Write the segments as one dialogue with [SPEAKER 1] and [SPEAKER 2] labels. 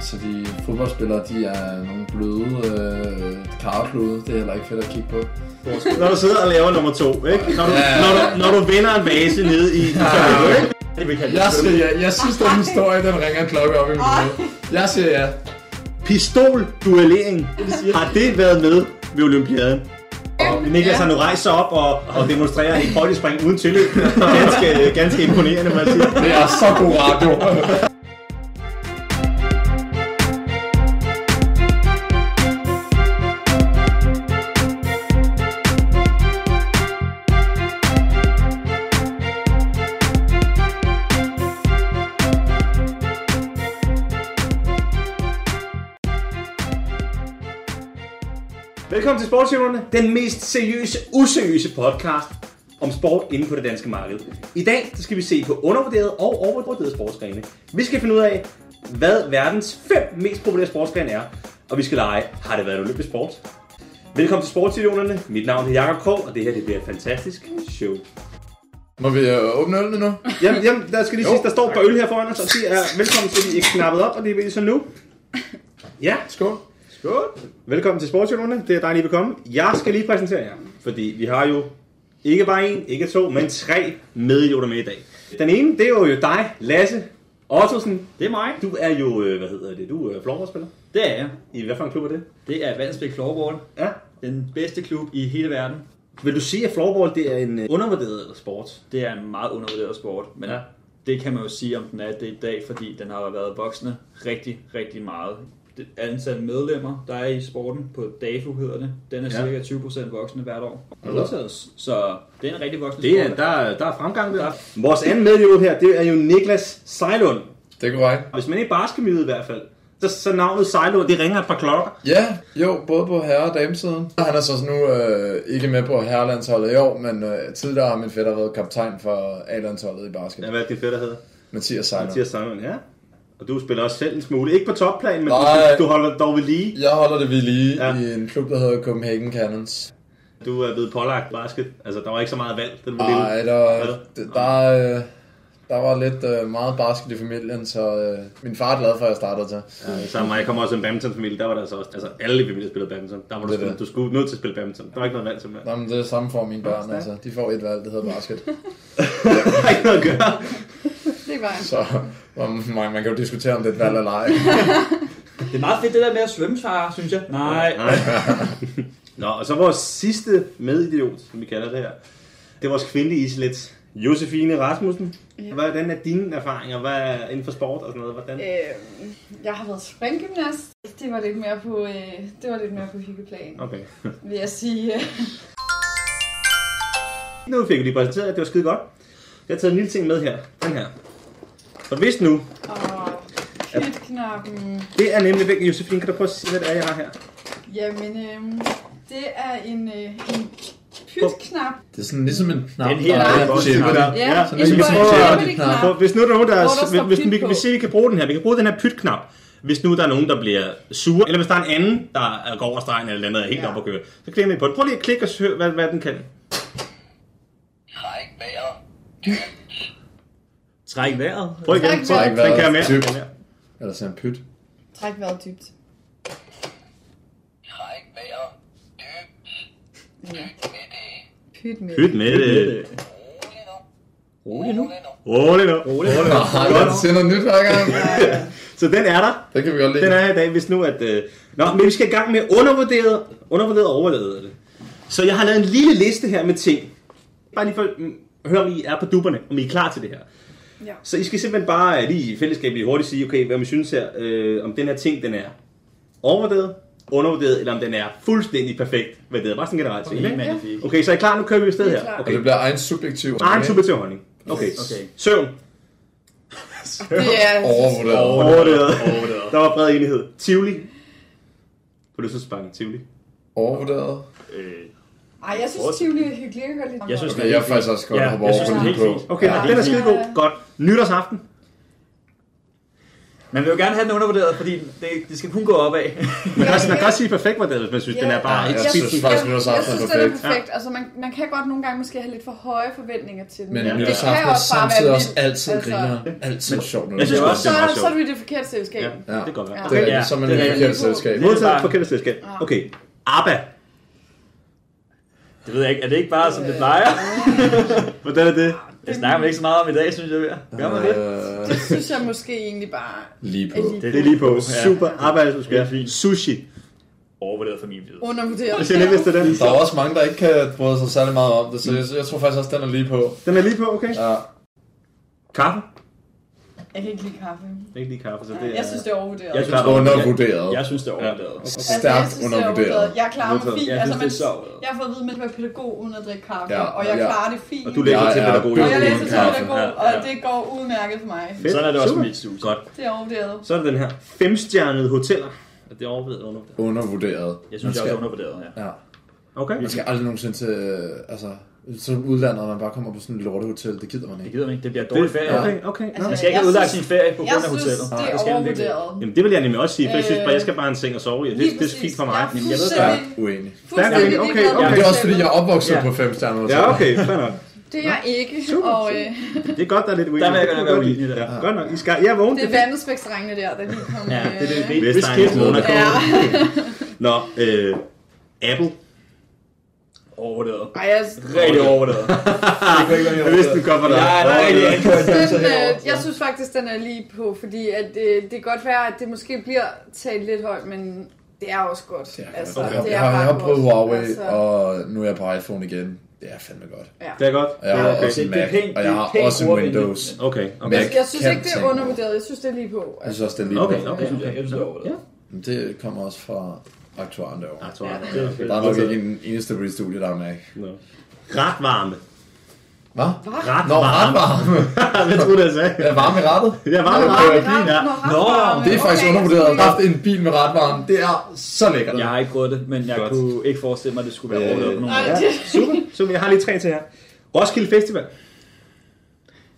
[SPEAKER 1] Så de fodboldspillere, de er nogle bløde øh, karklude. Det er heller ikke fedt at kigge på.
[SPEAKER 2] Når du sidder og laver nummer to, ikke? Når du,
[SPEAKER 1] Ja.
[SPEAKER 2] når du, når du vinder en vase nede i... i toilettet, ikke? Det vil kalde
[SPEAKER 1] Jeg,
[SPEAKER 2] det.
[SPEAKER 1] siger, jeg, jeg synes, den historie, den ringer en klokke op i mit hoved. Jeg siger ja.
[SPEAKER 2] Pistolduellering. Har det været med ved Olympiaden? Og Niklas har nu rejst sig op og, og demonstrerer et højdespring uden tilløb. Ganske, ganske imponerende, må jeg sige.
[SPEAKER 1] Det er så god radio.
[SPEAKER 2] Velkommen til Sportsjournalerne, den mest seriøse, useriøse podcast om sport inde på det danske marked. I dag så skal vi se på undervurderede og overvurderede sportsgrene. Vi skal finde ud af, hvad verdens fem mest populære sportsgrene er, og vi skal lege, har det været en olympisk sport? Velkommen til Sportsjournalerne. Mit navn er Jakob Krog, og det her det bliver et fantastisk show.
[SPEAKER 1] Må vi øh, åbne ølene nu?
[SPEAKER 2] Jamen, jamen der skal lige
[SPEAKER 1] Jo.
[SPEAKER 2] sige, der står et par øl her foran os, og de er velkommen til, at de er knappet op, og det er vi så nu. Ja,
[SPEAKER 1] Skål.
[SPEAKER 2] Skål. Velkommen til Sportsjournalerne. Det er dejligt at komme. Jeg skal lige præsentere jer, fordi vi har jo ikke bare en, ikke to, men tre medioter med i dag. Den ene, det er jo dig, Lasse Ottosen.
[SPEAKER 3] Det er mig.
[SPEAKER 2] Du er jo, øh, hvad hedder det, du er floorballspiller.
[SPEAKER 3] Det er jeg.
[SPEAKER 2] I hvad for en klub er det?
[SPEAKER 3] Det er Vandsbæk Floorball.
[SPEAKER 2] Ja.
[SPEAKER 3] Den bedste klub i hele verden.
[SPEAKER 2] Vil du sige, at floorball det er en øh, undervurderet sport?
[SPEAKER 3] Det er en meget undervurderet sport, men
[SPEAKER 2] Ja.
[SPEAKER 3] ja. det kan man jo sige, om den er det i dag, fordi den har været voksende rigtig, rigtig meget. Det antal medlemmer, der er i sporten på DAFU hedder det, den er
[SPEAKER 2] Ja.
[SPEAKER 3] cirka 20% voksne hvert år.
[SPEAKER 2] Modtaget.
[SPEAKER 3] Så det er en rigtig voksende
[SPEAKER 2] Det er,
[SPEAKER 3] sport.
[SPEAKER 2] der, der er fremgang der.
[SPEAKER 3] Der-
[SPEAKER 2] Vores anden medjord her, det er jo Niklas Sejlund.
[SPEAKER 1] Det er korrekt.
[SPEAKER 2] Hvis man ikke bare skal vide i hvert fald, så, så navnet Sejlund, det ringer et par klokker.
[SPEAKER 1] Ja, jo, både på herre- og damesiden. Han er så nu øh, ikke med på herrelandsholdet i år, men øh, tidligere har min fætter været kaptajn for A-landsholdet i basket.
[SPEAKER 2] Ja,
[SPEAKER 1] Ja.
[SPEAKER 2] hvad er det fedt, der hedder?
[SPEAKER 1] Mathias Seiler.
[SPEAKER 2] Mathias Simon, ja. Og du spiller også selv en smule. Ikke på topplan, men
[SPEAKER 1] Nej.
[SPEAKER 2] du, du holder dog ved lige.
[SPEAKER 1] Jeg holder det ved lige
[SPEAKER 2] Ja.
[SPEAKER 1] ja. i en klub, der hedder Copenhagen Cannons.
[SPEAKER 2] Du er blevet pålagt basket. Altså, der var ikke så meget valg, den var
[SPEAKER 1] Nej,
[SPEAKER 2] lille.
[SPEAKER 1] der,
[SPEAKER 2] Hvad?
[SPEAKER 1] Ah, der, øh, der var lidt øh, meget basket i familien, så øh, min far er glad for, at jeg startede til.
[SPEAKER 2] Ja, sammen med, jeg kommer også i en badmintonfamilie, der var der altså også, altså alle i familien spillede badminton. Der var du,
[SPEAKER 1] Det er
[SPEAKER 2] spillet,
[SPEAKER 1] det.
[SPEAKER 2] du skulle nødt til at spille badminton. Der var ikke noget valg simpelthen.
[SPEAKER 1] Nå, men det er samme for mine børn, altså. De får et valg, det hedder basket.
[SPEAKER 2] Der var ikke noget at gøre.
[SPEAKER 4] Det var en.
[SPEAKER 1] Så man, man kan jo diskutere, om det er et valg eller ej.
[SPEAKER 3] det er meget fedt det der med at svømme, Sara, synes jeg. Nej.
[SPEAKER 2] Nej. Nå, og så vores sidste medidiot, som vi kalder det her. Det er vores kvindelige islet, Josefine Rasmussen.
[SPEAKER 4] Ja.
[SPEAKER 2] Hvordan er dine erfaringer? Hvad er inden for sport og sådan noget? Hvordan?
[SPEAKER 4] Øh, jeg har været springgymnast. Det var lidt mere på, øh, det var lidt mere på hyggeplan,
[SPEAKER 2] Okay.
[SPEAKER 4] vil jeg sige.
[SPEAKER 2] Nu fik vi lige præsenteret, at det var skide godt. Jeg har taget en lille ting med her. Den her. For hvis nu,
[SPEAKER 4] Og knytknappen.
[SPEAKER 2] det er nemlig væk. Josefine, kan du prøve at sige, hvad det er, jeg har her?
[SPEAKER 4] Jamen, øh, det er en, øh, en pytknap,
[SPEAKER 1] Det er sådan ligesom en knap,
[SPEAKER 3] Den her
[SPEAKER 1] der
[SPEAKER 3] er
[SPEAKER 1] er
[SPEAKER 2] en
[SPEAKER 1] en
[SPEAKER 2] boldknap.
[SPEAKER 1] chipper der.
[SPEAKER 4] Ja,
[SPEAKER 2] ja. Så
[SPEAKER 4] en
[SPEAKER 2] vi kan
[SPEAKER 4] bold-
[SPEAKER 2] prøve at-
[SPEAKER 4] en
[SPEAKER 1] knap.
[SPEAKER 4] knap.
[SPEAKER 2] For, hvis nu der er nogen, der,
[SPEAKER 4] Hvor der
[SPEAKER 2] er,
[SPEAKER 4] står
[SPEAKER 2] hvis, hvis,
[SPEAKER 4] pyt
[SPEAKER 2] vi,
[SPEAKER 4] på.
[SPEAKER 2] hvis I kan bruge den her, vi kan bruge den her pytknap, hvis nu der er nogen, der bliver sure, eller hvis der er en anden, der går over stregen eller andet, er helt ja.
[SPEAKER 4] Ja.
[SPEAKER 2] op at køre, så klemmer I på den. Prøv lige at klikke og hør, hvad, hvad den kan.
[SPEAKER 3] Træk vejret.
[SPEAKER 2] Prøv igen.
[SPEAKER 4] Træk
[SPEAKER 2] Prøv-
[SPEAKER 4] vejret.
[SPEAKER 2] Den kan jeg mere.
[SPEAKER 1] Dybt.
[SPEAKER 2] Den her.
[SPEAKER 1] Eller sådan en pyt.
[SPEAKER 4] Træk vejret dybt. Træk vejret dybt. Ja. Pyt med det.
[SPEAKER 2] Pyt med det.
[SPEAKER 3] Rolig nu.
[SPEAKER 2] Rolig nu. Rolig nu.
[SPEAKER 1] Nej, det siger noget nyt hver gang.
[SPEAKER 2] Så den er der.
[SPEAKER 1] Det kan vi godt lide.
[SPEAKER 2] Den er her i dag, hvis nu at... Øh... Nå, men vi skal i gang med undervurderet, undervurderet og overvurderet. hedder det. Så jeg har lavet en lille liste her med ting. Bare lige for at mm, høre, om I er på dupperne, om I er klar til det her.
[SPEAKER 4] Ja.
[SPEAKER 2] Så I skal simpelthen bare øh, lige i fællesskab lige hurtigt sige, okay, hvad man synes her, øh, om den her ting, den er overvurderet, undervurderet, eller om den er fuldstændig perfekt. Hvad det er, bare sådan generelt ting,
[SPEAKER 3] Helt
[SPEAKER 2] ikke?
[SPEAKER 3] magnifik.
[SPEAKER 2] Okay, så er I klar? Nu kører vi afsted
[SPEAKER 4] Vi er
[SPEAKER 2] her.
[SPEAKER 4] klar.
[SPEAKER 1] Og
[SPEAKER 2] Okay. Ah,
[SPEAKER 1] det bliver egen subjektiv.
[SPEAKER 2] Egen subjektiv holdning. Okay.
[SPEAKER 3] Okay.
[SPEAKER 2] Søvn.
[SPEAKER 4] Det er
[SPEAKER 1] Overvurderet.
[SPEAKER 2] Overvurderet.
[SPEAKER 3] Overvurderet.
[SPEAKER 2] Der var bred enighed. Tivoli. Forlystelsesparken Tivoli.
[SPEAKER 1] Overvurderet.
[SPEAKER 3] Øh,
[SPEAKER 4] Ej, jeg synes, Tivoli er hyggeligt. Jeg kan godt lide
[SPEAKER 3] Jeg synes,
[SPEAKER 1] Okay, jeg er faktisk også godt
[SPEAKER 3] Ja,
[SPEAKER 1] at hoppe
[SPEAKER 3] jeg synes,
[SPEAKER 1] over
[SPEAKER 3] den er
[SPEAKER 1] på.
[SPEAKER 3] helt fint.
[SPEAKER 2] Okay,
[SPEAKER 4] Ja.
[SPEAKER 2] ja, den er skidegod.
[SPEAKER 4] Ja.
[SPEAKER 2] Godt. Nytårsaften.
[SPEAKER 3] Man vil jo gerne have den undervurderet, fordi det, det skal kun gå opad.
[SPEAKER 2] Man kan, også, man kan også sige perfekt model, hvis man synes,
[SPEAKER 4] Ja.
[SPEAKER 2] den er bare
[SPEAKER 1] Ja,
[SPEAKER 2] et
[SPEAKER 1] jeg
[SPEAKER 2] skidt.
[SPEAKER 1] synes faktisk, vi har sagt,
[SPEAKER 4] jeg
[SPEAKER 1] den er
[SPEAKER 4] synes, det er
[SPEAKER 1] perfekt.
[SPEAKER 4] perfekt. Altså, man, man kan godt nogle gange måske have lidt for høje forventninger til den.
[SPEAKER 1] Men
[SPEAKER 2] Ja.
[SPEAKER 1] ja,
[SPEAKER 2] Det
[SPEAKER 1] det kan
[SPEAKER 4] jo
[SPEAKER 1] også samtidig
[SPEAKER 4] bare være
[SPEAKER 1] også
[SPEAKER 4] vildt.
[SPEAKER 1] altid
[SPEAKER 4] Altså,
[SPEAKER 1] griner. Altid sjovt. når
[SPEAKER 2] Jeg synes
[SPEAKER 1] det
[SPEAKER 2] også,
[SPEAKER 4] Så,
[SPEAKER 2] det er meget
[SPEAKER 4] så er
[SPEAKER 2] sjovt.
[SPEAKER 4] vi i det forkerte selskab.
[SPEAKER 2] Ja,
[SPEAKER 1] Ja.
[SPEAKER 2] det kan godt være.
[SPEAKER 4] Ja.
[SPEAKER 1] er- Det
[SPEAKER 3] Ja,
[SPEAKER 1] er som en
[SPEAKER 3] det er-
[SPEAKER 1] forkert selskab.
[SPEAKER 3] Det er
[SPEAKER 2] Modtaget
[SPEAKER 3] bare-
[SPEAKER 2] forkert selskab.
[SPEAKER 4] Ja.
[SPEAKER 2] Okay. ABBA.
[SPEAKER 3] Det ved jeg ikke. Er det ikke bare, som det plejer?
[SPEAKER 2] Hvordan er Ah, det?
[SPEAKER 3] Det snakker man ikke så meget om i dag, synes jeg. Gør man det?
[SPEAKER 1] Øh,
[SPEAKER 4] Det synes jeg måske egentlig bare...
[SPEAKER 1] Lige på.
[SPEAKER 4] er lige-
[SPEAKER 2] Det er lige på. Super ABBA, du skal
[SPEAKER 3] Det er fint.
[SPEAKER 2] Sushi.
[SPEAKER 3] Overvurderet for min viden.
[SPEAKER 4] Undervurderet.
[SPEAKER 2] Jeg siger lidt, hvis det er den.
[SPEAKER 1] Der er også mange, der ikke kan bryde sig særlig meget om det, så jeg, jeg tror faktisk også, den er lige på.
[SPEAKER 2] Den er lige på, okay?
[SPEAKER 1] Ja.
[SPEAKER 2] Kaffe?
[SPEAKER 4] Jeg kan ikke lide kaffe.
[SPEAKER 2] Jeg kan ikke lide kaffe, så det
[SPEAKER 4] Nej,
[SPEAKER 2] er...
[SPEAKER 4] Jeg synes, det er overvurderet.
[SPEAKER 3] Jeg
[SPEAKER 4] Altså,
[SPEAKER 3] synes, det er
[SPEAKER 1] Undervurderet.
[SPEAKER 3] Jeg synes, det er overvurderet.
[SPEAKER 4] jeg
[SPEAKER 1] Stærkt
[SPEAKER 4] synes, det er
[SPEAKER 1] undervurderet.
[SPEAKER 4] Jeg klarer mig
[SPEAKER 2] Modtaget.
[SPEAKER 4] fint.
[SPEAKER 3] Jeg
[SPEAKER 4] Altså,
[SPEAKER 3] synes,
[SPEAKER 4] man,
[SPEAKER 3] det er så overvurderet.
[SPEAKER 4] jeg har fået at vide, at man skal være pædagog uden at drikke kaffe,
[SPEAKER 1] Ja,
[SPEAKER 4] og jeg
[SPEAKER 1] ja.
[SPEAKER 4] klarer det fint.
[SPEAKER 2] Og du læser
[SPEAKER 1] Jeg
[SPEAKER 2] til
[SPEAKER 1] er
[SPEAKER 2] pædagog.
[SPEAKER 4] og jeg læser til
[SPEAKER 1] Kaffe.
[SPEAKER 4] pædagog,
[SPEAKER 3] Ja,
[SPEAKER 4] og
[SPEAKER 3] ja.
[SPEAKER 4] det går udmærket for mig.
[SPEAKER 2] Fedt.
[SPEAKER 3] Sådan er det også
[SPEAKER 2] Super.
[SPEAKER 3] med mit studie.
[SPEAKER 2] Godt.
[SPEAKER 4] Det er overvurderet.
[SPEAKER 2] Så er der den her femstjernede hoteller. Og det er overvejet under.
[SPEAKER 1] Undervurderet.
[SPEAKER 3] Jeg synes,
[SPEAKER 1] Man
[SPEAKER 3] jeg
[SPEAKER 1] skal-
[SPEAKER 3] er også undervurderet, ja.
[SPEAKER 1] Ja.
[SPEAKER 2] Okay.
[SPEAKER 1] Man skal aldrig nogensinde til, øh, altså, som udlandet, og man bare kommer på sådan et lortehotel, det gider man
[SPEAKER 3] Det
[SPEAKER 1] ikke.
[SPEAKER 3] gider man ikke. Det bliver dårlig ferie.
[SPEAKER 2] Okay, okay. Nå.
[SPEAKER 3] Man skal ikke have udlagt sin ferie på
[SPEAKER 4] Jeg
[SPEAKER 3] grund af
[SPEAKER 4] synes,
[SPEAKER 3] hotellet.
[SPEAKER 4] det er
[SPEAKER 3] Det skal man virkelig.
[SPEAKER 4] overvurderet.
[SPEAKER 2] Jamen, det vil jeg nemlig også sige, for jeg synes bare,
[SPEAKER 4] Øh,
[SPEAKER 2] jeg skal bare have en seng og sove i. og Det,
[SPEAKER 4] Lige
[SPEAKER 2] det er fint for mig.
[SPEAKER 4] præcis.
[SPEAKER 2] Jamen,
[SPEAKER 4] Jeg
[SPEAKER 2] jeg ved
[SPEAKER 4] er
[SPEAKER 1] Ja,
[SPEAKER 2] godt.
[SPEAKER 4] fuldstændig,
[SPEAKER 1] uenig.
[SPEAKER 2] Ja,
[SPEAKER 4] fuldstændig
[SPEAKER 2] okay,
[SPEAKER 4] ligeglad med
[SPEAKER 2] okay.
[SPEAKER 1] Men det er også fordi, jeg er opvokset
[SPEAKER 3] Ja.
[SPEAKER 1] på fem stjerner.
[SPEAKER 2] Ja, okay, fair nok.
[SPEAKER 4] Det er jeg ikke,
[SPEAKER 2] Super,
[SPEAKER 4] og øh,
[SPEAKER 2] Det er godt, der er lidt uenighed.
[SPEAKER 3] Der vil
[SPEAKER 2] Det
[SPEAKER 3] jeg gerne
[SPEAKER 2] kan jeg
[SPEAKER 3] være
[SPEAKER 2] godt
[SPEAKER 3] uenig
[SPEAKER 2] lide.
[SPEAKER 3] der.
[SPEAKER 2] Ja, Godt nok. I skal... Jeg er vågen.
[SPEAKER 4] det
[SPEAKER 2] Det
[SPEAKER 4] er
[SPEAKER 2] er
[SPEAKER 4] vandspæksdrengene der, der lige kom.
[SPEAKER 3] Ja,
[SPEAKER 4] øh,
[SPEAKER 3] det er det.
[SPEAKER 2] fedt.
[SPEAKER 3] Hvis- Hvis
[SPEAKER 2] Vestegn,
[SPEAKER 3] kæft
[SPEAKER 1] Monaco.
[SPEAKER 3] Monaco.
[SPEAKER 4] Ja.
[SPEAKER 2] Nå, øh, Apple.
[SPEAKER 3] Overvurderet.
[SPEAKER 4] Ej, jeg,
[SPEAKER 3] Rigtig overvurderet.
[SPEAKER 2] Jeg vidste, den kom fra dig.
[SPEAKER 3] Jeg er rigtig anført.
[SPEAKER 1] altså
[SPEAKER 4] den, øh, jeg synes faktisk, den er lige på, fordi at, øh, det kan godt være, at det måske bliver talt lidt højt, men det er også godt.
[SPEAKER 1] Det er
[SPEAKER 4] altså,
[SPEAKER 1] godt.
[SPEAKER 4] det
[SPEAKER 1] Jeg har, jeg
[SPEAKER 4] ret
[SPEAKER 1] har prøvet
[SPEAKER 4] godt.
[SPEAKER 1] Huawei,
[SPEAKER 4] Altså,
[SPEAKER 1] og nu er jeg på iPhone igen. Det er fandme godt.
[SPEAKER 4] ja.
[SPEAKER 2] Det er godt.
[SPEAKER 1] Og jeg har
[SPEAKER 4] Ja, okay.
[SPEAKER 1] også en
[SPEAKER 3] Det er
[SPEAKER 1] Mac,
[SPEAKER 3] pænt-
[SPEAKER 1] og jeg
[SPEAKER 3] det er
[SPEAKER 1] har
[SPEAKER 3] pænt
[SPEAKER 1] også en
[SPEAKER 3] ordentligt.
[SPEAKER 1] Windows.
[SPEAKER 2] Okay, okay.
[SPEAKER 1] Mac
[SPEAKER 4] Jeg, jeg synes
[SPEAKER 1] kan
[SPEAKER 4] ikke, det er
[SPEAKER 1] tænke.
[SPEAKER 4] undervurderet. Jeg synes, det er lige på.
[SPEAKER 1] Jeg
[SPEAKER 4] Altså,
[SPEAKER 1] synes også, den er lige
[SPEAKER 2] Okay,
[SPEAKER 1] på.
[SPEAKER 3] Det
[SPEAKER 2] okay.
[SPEAKER 3] synes jeg, jeg synes, det er
[SPEAKER 2] Ja.
[SPEAKER 3] overvurderet.
[SPEAKER 1] Men Det kommer også fra aktuaren derovre.
[SPEAKER 2] Jeg tror, jeg-
[SPEAKER 3] Det altså- er fedt.
[SPEAKER 1] Der er nok ikke en eneste på det studie, der er Mac.
[SPEAKER 2] Nå. Ret varme.
[SPEAKER 1] Hvad?
[SPEAKER 2] Ret
[SPEAKER 1] Nå, ret
[SPEAKER 2] varme.
[SPEAKER 1] varme.
[SPEAKER 2] Hvad troede du, jeg sagde?
[SPEAKER 1] Er varme i rettet?
[SPEAKER 2] Det er varme.
[SPEAKER 1] Nå,
[SPEAKER 4] Altså,
[SPEAKER 2] varme.
[SPEAKER 1] det er
[SPEAKER 2] Ja.
[SPEAKER 4] Nå,
[SPEAKER 1] Det er
[SPEAKER 4] altså,
[SPEAKER 1] faktisk undervurderet. At haft en bil med ret varme. Det er så lækkert.
[SPEAKER 3] Jeg har ikke prøvet det, men jeg
[SPEAKER 2] Godt.
[SPEAKER 3] kunne ikke forestille mig, at det skulle være
[SPEAKER 1] Øh,
[SPEAKER 3] overvurderet på nogen
[SPEAKER 4] nej,
[SPEAKER 3] måde.
[SPEAKER 4] det-
[SPEAKER 2] Super, super. Jeg har lige tre til her. Roskilde Festival.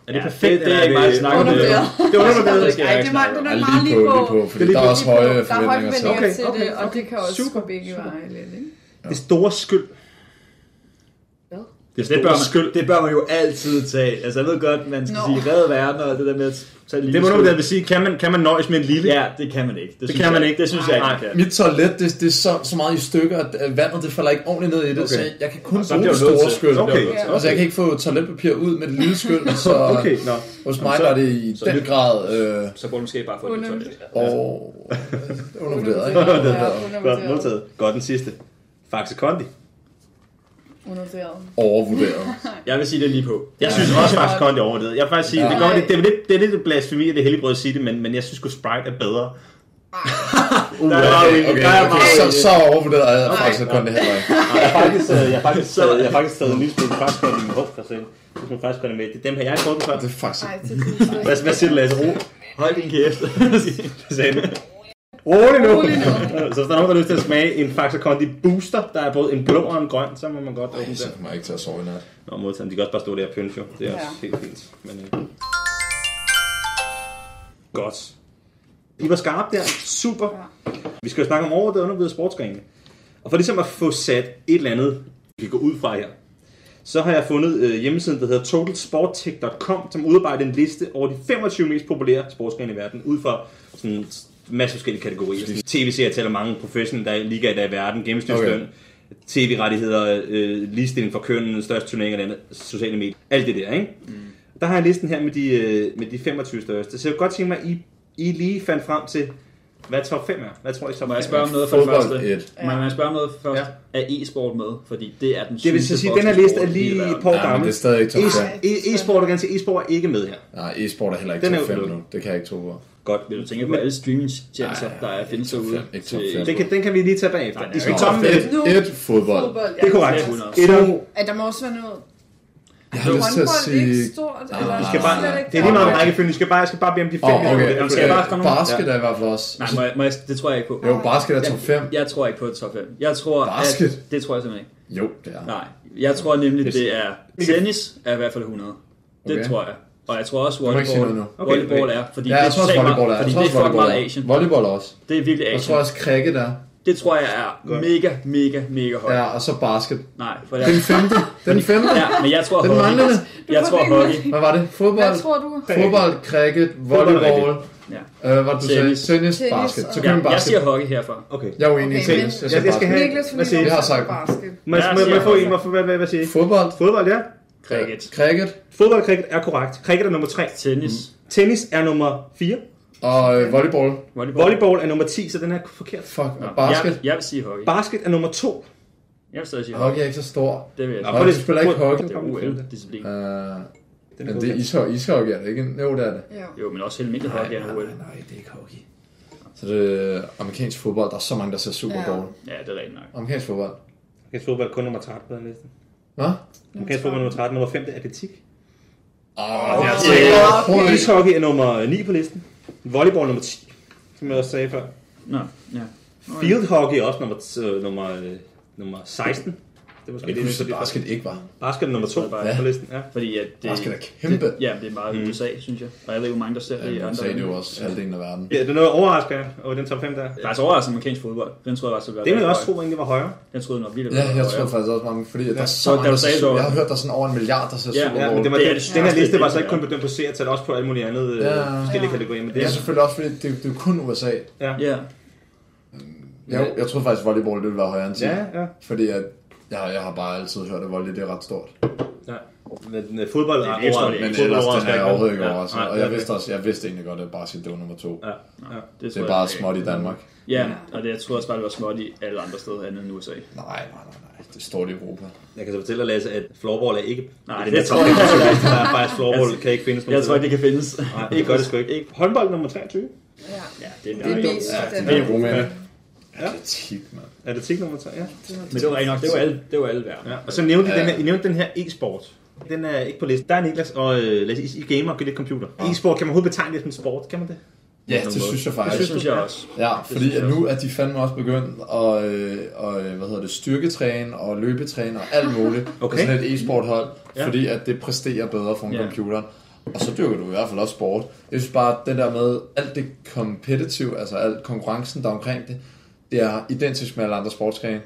[SPEAKER 2] Er det
[SPEAKER 3] Ja,
[SPEAKER 2] perfekt?
[SPEAKER 3] det- det
[SPEAKER 2] eller
[SPEAKER 3] er ikke meget at snakke om.
[SPEAKER 4] Undervurderet.
[SPEAKER 2] Det er undervurderet.
[SPEAKER 3] skal jeg
[SPEAKER 4] Ej,
[SPEAKER 3] ikke
[SPEAKER 4] det er
[SPEAKER 3] snakke
[SPEAKER 4] meget- den
[SPEAKER 3] om.
[SPEAKER 4] er
[SPEAKER 1] Ja,
[SPEAKER 4] meget
[SPEAKER 1] lige
[SPEAKER 4] lige
[SPEAKER 1] på,
[SPEAKER 4] på.
[SPEAKER 1] lige på, fordi
[SPEAKER 2] Det er
[SPEAKER 1] der er
[SPEAKER 2] lige
[SPEAKER 1] også
[SPEAKER 4] Lige på.
[SPEAKER 1] høje
[SPEAKER 4] Der er høje
[SPEAKER 1] forventninger til.
[SPEAKER 4] forventninger
[SPEAKER 2] Okay,
[SPEAKER 4] til
[SPEAKER 2] okay,
[SPEAKER 4] det, og
[SPEAKER 2] okay.
[SPEAKER 4] det kan også
[SPEAKER 2] Super,
[SPEAKER 4] gå begge
[SPEAKER 2] super.
[SPEAKER 4] veje lidt, ikke?
[SPEAKER 2] Det store skyld.
[SPEAKER 4] Hvad?
[SPEAKER 2] Det
[SPEAKER 3] Det
[SPEAKER 2] store
[SPEAKER 3] bør,
[SPEAKER 2] skyld.
[SPEAKER 3] man, det bør man jo altid tage. Altså, jeg ved godt, man skal
[SPEAKER 4] Nå.
[SPEAKER 3] sige redde verden og det der med at tage en lille
[SPEAKER 2] Det må nogen
[SPEAKER 3] skyld.
[SPEAKER 2] der vil sige, kan man, kan man nøjes med en lille?
[SPEAKER 3] Ja, Ah, det kan man ikke. Det, synes
[SPEAKER 2] kan
[SPEAKER 3] jeg,
[SPEAKER 2] man ikke.
[SPEAKER 3] Det synes jeg ikke,
[SPEAKER 2] Nej.
[SPEAKER 3] man kan.
[SPEAKER 1] Mit toilet, det, det er så, så meget i stykker, at øh, vandet det falder ikke ordentligt ned i det, okay. så jeg, jeg kan kun
[SPEAKER 3] bliver
[SPEAKER 1] bruge det
[SPEAKER 3] du nødt
[SPEAKER 1] store
[SPEAKER 3] til-
[SPEAKER 1] skyld.
[SPEAKER 2] Okay,
[SPEAKER 4] Ja.
[SPEAKER 1] Altså, jeg
[SPEAKER 2] okay.
[SPEAKER 1] kan ikke få toiletpapir ud med det lille skyld, så
[SPEAKER 2] Okay,
[SPEAKER 1] okay.
[SPEAKER 2] nå.
[SPEAKER 1] hos mig der er det i
[SPEAKER 3] så-
[SPEAKER 1] den grad øh,
[SPEAKER 3] Så burde du måske bare få det
[SPEAKER 4] Undervurderet.
[SPEAKER 3] toilet.
[SPEAKER 1] og, undervurderet. Ikke?
[SPEAKER 4] Undervurderet.
[SPEAKER 2] Godt,
[SPEAKER 4] Undervurderet.
[SPEAKER 2] modtaget. Godt, den sidste. Faxe Kondi.
[SPEAKER 4] Undervurderet.
[SPEAKER 1] Overvurderet.
[SPEAKER 3] Jeg vil sige det er lige på.
[SPEAKER 2] Jeg synes også faktisk Kondi er overvurderet. Jeg vil faktisk sige,
[SPEAKER 1] Ja.
[SPEAKER 2] det, går, det, det, er lidt, det er lidt blasfemi, at det er heldigbrød at sige det, men, men jeg synes sgu Sprite er bedre.
[SPEAKER 1] Okay,
[SPEAKER 2] Uh,
[SPEAKER 1] okay, okay, okay. Så, så overvurderet er jeg faktisk kun det heller ikke.
[SPEAKER 2] jeg har faktisk, øh, jeg har faktisk, taget- jeg har faktisk taget en lille smule faktisk Kondi med håb for selv. Hvis man faktisk Kondi med. Det er dem her, jeg har prøvet dem før.
[SPEAKER 1] Det er faktisk
[SPEAKER 4] Nej, det synes jeg
[SPEAKER 2] Hvad,
[SPEAKER 4] ikke.
[SPEAKER 2] hvad siger du, Lasse? Ro,
[SPEAKER 3] Hold din kæft.
[SPEAKER 2] Det sagde du. Rolig nu.
[SPEAKER 4] Rolig nu.
[SPEAKER 2] så hvis der er nogen, der har lyst til at smage en Faxe Kondi Booster, der er både en blå og en grøn, så må man godt åbne
[SPEAKER 1] så
[SPEAKER 2] den.
[SPEAKER 1] kommer jeg ikke til at sove i nat.
[SPEAKER 2] Nå, modtagen, de kan også bare stå der og pynte, jo. Det er
[SPEAKER 4] Ja.
[SPEAKER 2] også helt fint. Men, øh... Godt. I var skarpe der. Super. Vi skal jo snakke om overvurderet og undervurderet sportsgrene. Og for ligesom at få sat et eller andet, vi kan gå ud fra her, så har jeg fundet øh, hjemmesiden, der hedder totalsporttech.com, som udarbejder en liste over de 25 mest populære sportsgrene i verden, ud fra sådan en masse forskellige kategorier. Sådan, TV-serier tæller mange professionelle der er ligaer der er i verden, gennemsnitsløn,
[SPEAKER 1] Okay.
[SPEAKER 2] tv-rettigheder, øh, ligestilling for kønnene, største turneringer, det andet, sociale medier, alt det der, ikke? Mm. Der har jeg listen her med de, øh, med de 25 største, så jeg kunne godt tænke mig, at I, I lige fandt frem til, hvad top 5 er. Hvad tror I top 5
[SPEAKER 3] Må
[SPEAKER 2] er?
[SPEAKER 3] jeg spørge om noget for det
[SPEAKER 1] Fodbold
[SPEAKER 3] første?
[SPEAKER 1] et.
[SPEAKER 3] Må jeg- må jeg spørge om noget først?
[SPEAKER 2] Ja.
[SPEAKER 3] Er e-sport med? Fordi det er den
[SPEAKER 2] Det vil
[SPEAKER 3] sygeste
[SPEAKER 2] så sige, at den her liste er
[SPEAKER 3] boksesport i hele
[SPEAKER 2] lige
[SPEAKER 3] verden.
[SPEAKER 2] et par år
[SPEAKER 1] Ja, men
[SPEAKER 2] gammel.
[SPEAKER 1] det er stadig ikke top
[SPEAKER 2] E-
[SPEAKER 1] 5.
[SPEAKER 2] E- E-sport er ganske e-sport er ikke med her.
[SPEAKER 1] Nej, e-sport er heller ikke
[SPEAKER 2] Den er
[SPEAKER 1] top 5
[SPEAKER 2] udelukket.
[SPEAKER 1] nu. Det kan jeg ikke tro på.
[SPEAKER 2] Godt.
[SPEAKER 3] Vil du tænke på alle streamingstjenester, der er findes
[SPEAKER 1] top
[SPEAKER 3] derude?
[SPEAKER 1] fem, ikke top
[SPEAKER 3] til-
[SPEAKER 1] fem.
[SPEAKER 2] Den kan, den kan vi lige tage bagefter.
[SPEAKER 3] Nej,
[SPEAKER 2] Nej,
[SPEAKER 3] nej,
[SPEAKER 2] de skal
[SPEAKER 3] nej.
[SPEAKER 2] ikke tomme
[SPEAKER 1] Et,
[SPEAKER 2] det.
[SPEAKER 4] Nu.
[SPEAKER 1] et fodbold.
[SPEAKER 4] Fodbold, ja.
[SPEAKER 2] Det er korrekt.
[SPEAKER 3] Yes.
[SPEAKER 2] Etter.
[SPEAKER 4] Ja, der må også være noget.
[SPEAKER 1] Jeg har lyst til
[SPEAKER 4] Håndbold
[SPEAKER 1] at
[SPEAKER 4] det er ikke
[SPEAKER 1] sige...
[SPEAKER 4] stort.
[SPEAKER 1] Nej,
[SPEAKER 4] eller
[SPEAKER 1] vi
[SPEAKER 2] Vi skal bare,
[SPEAKER 4] slet ikke
[SPEAKER 2] det er lige meget om
[SPEAKER 4] deroppe.
[SPEAKER 2] rækkefølgen. Vi skal bare, jeg skal bare blive om de fem.
[SPEAKER 1] Åh, okay.
[SPEAKER 2] Jeg
[SPEAKER 1] okay.
[SPEAKER 2] skal bare komme nogen.
[SPEAKER 1] Basket er i hvert fald også.
[SPEAKER 3] Nej, må jeg, må jeg, det tror jeg ikke på.
[SPEAKER 1] Jo, basket er top 5.
[SPEAKER 3] Jeg tror ikke på et top 5. Jeg tror,
[SPEAKER 1] Basket?
[SPEAKER 3] At, det tror jeg simpelthen ikke.
[SPEAKER 1] Jo, det er.
[SPEAKER 3] Nej, jeg tror nemlig, det er tennis er i hvert fald 100. Det
[SPEAKER 1] Okay.
[SPEAKER 3] tror jeg. Og jeg tror også,
[SPEAKER 1] må ikke sige
[SPEAKER 3] volleyball,
[SPEAKER 1] noget
[SPEAKER 2] nu.
[SPEAKER 3] volleyball
[SPEAKER 2] Okay.
[SPEAKER 3] er, fordi
[SPEAKER 1] Ja,
[SPEAKER 3] det er
[SPEAKER 1] jeg tror også
[SPEAKER 3] totalt
[SPEAKER 1] volleyball er.
[SPEAKER 3] meget,
[SPEAKER 1] Jeg
[SPEAKER 3] fordi
[SPEAKER 1] tror
[SPEAKER 3] det er
[SPEAKER 1] også
[SPEAKER 3] fucking
[SPEAKER 1] volleyball
[SPEAKER 3] meget
[SPEAKER 1] er.
[SPEAKER 3] Asien.
[SPEAKER 1] Volleyball er også.
[SPEAKER 3] Det er virkelig
[SPEAKER 1] Jeg tror
[SPEAKER 3] Asien.
[SPEAKER 1] også cricket er.
[SPEAKER 3] Det tror jeg er mega, mega, mega højt.
[SPEAKER 1] Ja, og så basket.
[SPEAKER 3] Nej, for det
[SPEAKER 1] Den
[SPEAKER 3] er...
[SPEAKER 1] femte. Den femte.
[SPEAKER 3] Ja, men jeg tror
[SPEAKER 1] Den manglende.
[SPEAKER 3] hockey. Jeg
[SPEAKER 4] Du får
[SPEAKER 3] tror
[SPEAKER 4] den
[SPEAKER 3] hockey.
[SPEAKER 1] Hvad var det? Fodbold,
[SPEAKER 4] Hvad tror du?
[SPEAKER 1] fodbold cricket, volleyball.
[SPEAKER 3] Ja.
[SPEAKER 1] Øh, hvad var det, du sagde?
[SPEAKER 3] Tennis.
[SPEAKER 1] Tennis,
[SPEAKER 4] Tennis
[SPEAKER 1] basket. Så
[SPEAKER 4] og-
[SPEAKER 1] kan
[SPEAKER 3] Ja,
[SPEAKER 1] man
[SPEAKER 3] jeg
[SPEAKER 1] basket.
[SPEAKER 3] siger hockey herfra.
[SPEAKER 2] Okay.
[SPEAKER 1] Jeg er uenig i
[SPEAKER 4] Okay,
[SPEAKER 1] tennis.
[SPEAKER 4] men-
[SPEAKER 1] Jeg siger
[SPEAKER 2] Jeg skal
[SPEAKER 1] basket.
[SPEAKER 2] have-
[SPEAKER 4] Niklas,
[SPEAKER 2] Hvad
[SPEAKER 4] fordi
[SPEAKER 2] siger
[SPEAKER 4] du
[SPEAKER 2] I?
[SPEAKER 1] Jeg har sagt-
[SPEAKER 2] Må jeg,
[SPEAKER 4] basket.
[SPEAKER 3] Ja,
[SPEAKER 2] må, jeg- må jeg
[SPEAKER 3] siger
[SPEAKER 2] få
[SPEAKER 3] jeg.
[SPEAKER 2] en? Må jeg få- hvad, hvad, hvad siger I?
[SPEAKER 1] Fodbold,
[SPEAKER 2] Fodbold, ja.
[SPEAKER 3] Cricket.
[SPEAKER 1] cricket
[SPEAKER 2] Fodbold og cricket er korrekt. Cricket er nummer 3.
[SPEAKER 3] Tennis.
[SPEAKER 2] Tennis er nummer 4.
[SPEAKER 1] og øh, volleyball.
[SPEAKER 3] Volleyball.
[SPEAKER 2] Volleyball er nummer 10, så den er forkert.
[SPEAKER 1] Fuck,
[SPEAKER 3] Nå,
[SPEAKER 1] og basket.
[SPEAKER 3] Jeg, jeg vil sige hockey.
[SPEAKER 2] Basket er nummer 2.
[SPEAKER 3] Jeg vil stadig sige hockey.
[SPEAKER 1] Hockey er ikke så stor.
[SPEAKER 3] Det vil jeg
[SPEAKER 2] Nå,
[SPEAKER 3] sige.
[SPEAKER 1] Hockey
[SPEAKER 2] det-
[SPEAKER 1] spiller ikke hockey.
[SPEAKER 3] Det er OL-disciplin.
[SPEAKER 1] Øh,
[SPEAKER 2] Den
[SPEAKER 1] men det er isho- ishockey, er det ikke? Jo, det er det.
[SPEAKER 4] Jo.
[SPEAKER 3] Jo, men også helt almindelig hockey er OL.
[SPEAKER 1] nej, det er ikke hockey. Så det er amerikansk fodbold. Der er så mange, der ser super
[SPEAKER 4] Ja.
[SPEAKER 1] dårligt.
[SPEAKER 3] Ja, det er rent nok.
[SPEAKER 1] Amerikansk fodbold.
[SPEAKER 2] Amerikansk fodbold er kun nummer 13 på den liste.
[SPEAKER 1] Hvad?
[SPEAKER 2] Amerikansk fodbold er nummer 13. Nummer 5 det er atletik.
[SPEAKER 1] Åh,
[SPEAKER 2] det er ligesom-
[SPEAKER 1] okay.
[SPEAKER 2] Ishockey er nummer 9 på listen. Volleyball er nummer 10, som jeg også sagde før.
[SPEAKER 3] Nå, ja.
[SPEAKER 2] Field hockey er også nummer, øh, nummer, øh, nummer 16. Det er måske
[SPEAKER 1] Det
[SPEAKER 2] det,
[SPEAKER 1] er
[SPEAKER 2] det, det,
[SPEAKER 1] basket ikke var.
[SPEAKER 2] Basket er nummer 2
[SPEAKER 3] Ja.
[SPEAKER 2] på listen. Ja.
[SPEAKER 3] Fordi at det,
[SPEAKER 1] Basket er kæmpe.
[SPEAKER 3] Ja, det er meget i USA, synes jeg. Og jeg ved ikke, hvor mange, der ser det
[SPEAKER 1] Ja,
[SPEAKER 3] i andre
[SPEAKER 1] USA er
[SPEAKER 3] lande.
[SPEAKER 1] jo også halvdelen af verden.
[SPEAKER 2] ja. det er noget overraskende over den top 5 der.
[SPEAKER 3] Der er altså overraskende amerikansk fodbold. Den tror jeg faktisk,
[SPEAKER 2] Det ville jeg også tro, egentlig var højere.
[SPEAKER 3] Jeg troede, den var vildt.
[SPEAKER 1] Ja, jeg tror faktisk også mange, fordi ja. der er så
[SPEAKER 3] Så
[SPEAKER 1] mange,
[SPEAKER 3] da
[SPEAKER 1] der
[SPEAKER 3] du sagde,
[SPEAKER 1] ser,
[SPEAKER 3] du-
[SPEAKER 1] Jeg har hørt, der er sådan over en milliard, der ser
[SPEAKER 3] Ja,
[SPEAKER 1] Super
[SPEAKER 2] Ja,
[SPEAKER 1] Bowl.
[SPEAKER 2] men det var
[SPEAKER 3] Det
[SPEAKER 2] det
[SPEAKER 3] er
[SPEAKER 2] den,
[SPEAKER 3] det
[SPEAKER 2] den her
[SPEAKER 3] største,
[SPEAKER 2] liste var så
[SPEAKER 3] det
[SPEAKER 2] ikke kun
[SPEAKER 3] er.
[SPEAKER 2] bedømt på seertal, også på alle mulige andre øh,
[SPEAKER 1] Ja.
[SPEAKER 2] forskellige kategorier. Men det
[SPEAKER 1] Det
[SPEAKER 2] er,
[SPEAKER 1] er selvfølgelig også, fordi det, det er kun USA.
[SPEAKER 3] Ja,
[SPEAKER 1] Jeg, jeg troede faktisk, volleyball ville være højere end 10.
[SPEAKER 2] ja, ja.
[SPEAKER 1] Fordi at, jeg, jeg har bare altid hørt, at volley det er ret stort.
[SPEAKER 2] Men øh, fodbold er
[SPEAKER 3] Det er ikke stort,
[SPEAKER 2] over,
[SPEAKER 3] det er
[SPEAKER 1] Men
[SPEAKER 3] ikke
[SPEAKER 2] fodbold
[SPEAKER 1] ellers,
[SPEAKER 2] over-
[SPEAKER 1] den er jeg overhovedet ikke
[SPEAKER 2] Ja,
[SPEAKER 1] overrasket.
[SPEAKER 2] nej,
[SPEAKER 1] Og
[SPEAKER 2] det er
[SPEAKER 1] jeg
[SPEAKER 2] det.
[SPEAKER 1] vidste, også, jeg vidste egentlig godt, at basket det var nummer to.
[SPEAKER 2] Ja, ja.
[SPEAKER 1] Det
[SPEAKER 3] tror
[SPEAKER 1] er
[SPEAKER 3] jeg
[SPEAKER 1] bare
[SPEAKER 3] ikke.
[SPEAKER 1] småt i Danmark.
[SPEAKER 3] Ja, og det, jeg tror også bare, det var småt i alle andre steder andet end USA.
[SPEAKER 1] Nej, nej, nej, nej. Det er stort i Europa.
[SPEAKER 2] Jeg kan så fortælle dig, Lasse, at floorball er ikke...
[SPEAKER 3] Nej,
[SPEAKER 2] er
[SPEAKER 3] det
[SPEAKER 2] den
[SPEAKER 3] tror
[SPEAKER 2] top
[SPEAKER 3] jeg ikke.
[SPEAKER 2] 25 liste, Der er faktisk floorball, kan ikke findes nogen
[SPEAKER 3] Jeg tror
[SPEAKER 2] steder.
[SPEAKER 3] ikke, det kan findes.
[SPEAKER 2] Nej, det gør det sgu ikke. Håndbold nummer 23.
[SPEAKER 4] Ja.
[SPEAKER 3] Ja, det er
[SPEAKER 4] Det er
[SPEAKER 3] nok.
[SPEAKER 4] mest den.
[SPEAKER 1] Det er Rumænien.
[SPEAKER 2] Ja.
[SPEAKER 1] Atletik, mand.
[SPEAKER 2] Atletik nummer 3, ja.
[SPEAKER 3] Men det var rent nok. Det var alle, det var alle verden.
[SPEAKER 2] Ja, og så nævnte I,
[SPEAKER 1] Ja.
[SPEAKER 2] den her, I nævnte den her e-sport. Den er ikke på listen. Der er Niklas og øh, Lasse, I I gamer og gør lidt computer. E-sport, kan man overhovedet betegne det som sport? Kan man det?
[SPEAKER 1] Ja, det synes jeg
[SPEAKER 3] Det
[SPEAKER 1] faktisk.
[SPEAKER 3] synes jeg også.
[SPEAKER 1] Ja, fordi
[SPEAKER 3] synes
[SPEAKER 1] at
[SPEAKER 3] jeg
[SPEAKER 1] nu er de fandme også begyndt at øh, og, øh, hvad hedder det, styrketræne og løbetræne og alt muligt
[SPEAKER 2] Okay.
[SPEAKER 1] okay. med sådan et e-sport hold,
[SPEAKER 2] Ja.
[SPEAKER 1] ja. fordi at det præsterer bedre fra en
[SPEAKER 3] Ja.
[SPEAKER 1] ja. computer. Og så dyrker du i hvert fald også sport. Jeg synes bare, at den der med alt det competitive, altså alt konkurrencen der er omkring det, det er identisk med alle andre sportsgrene.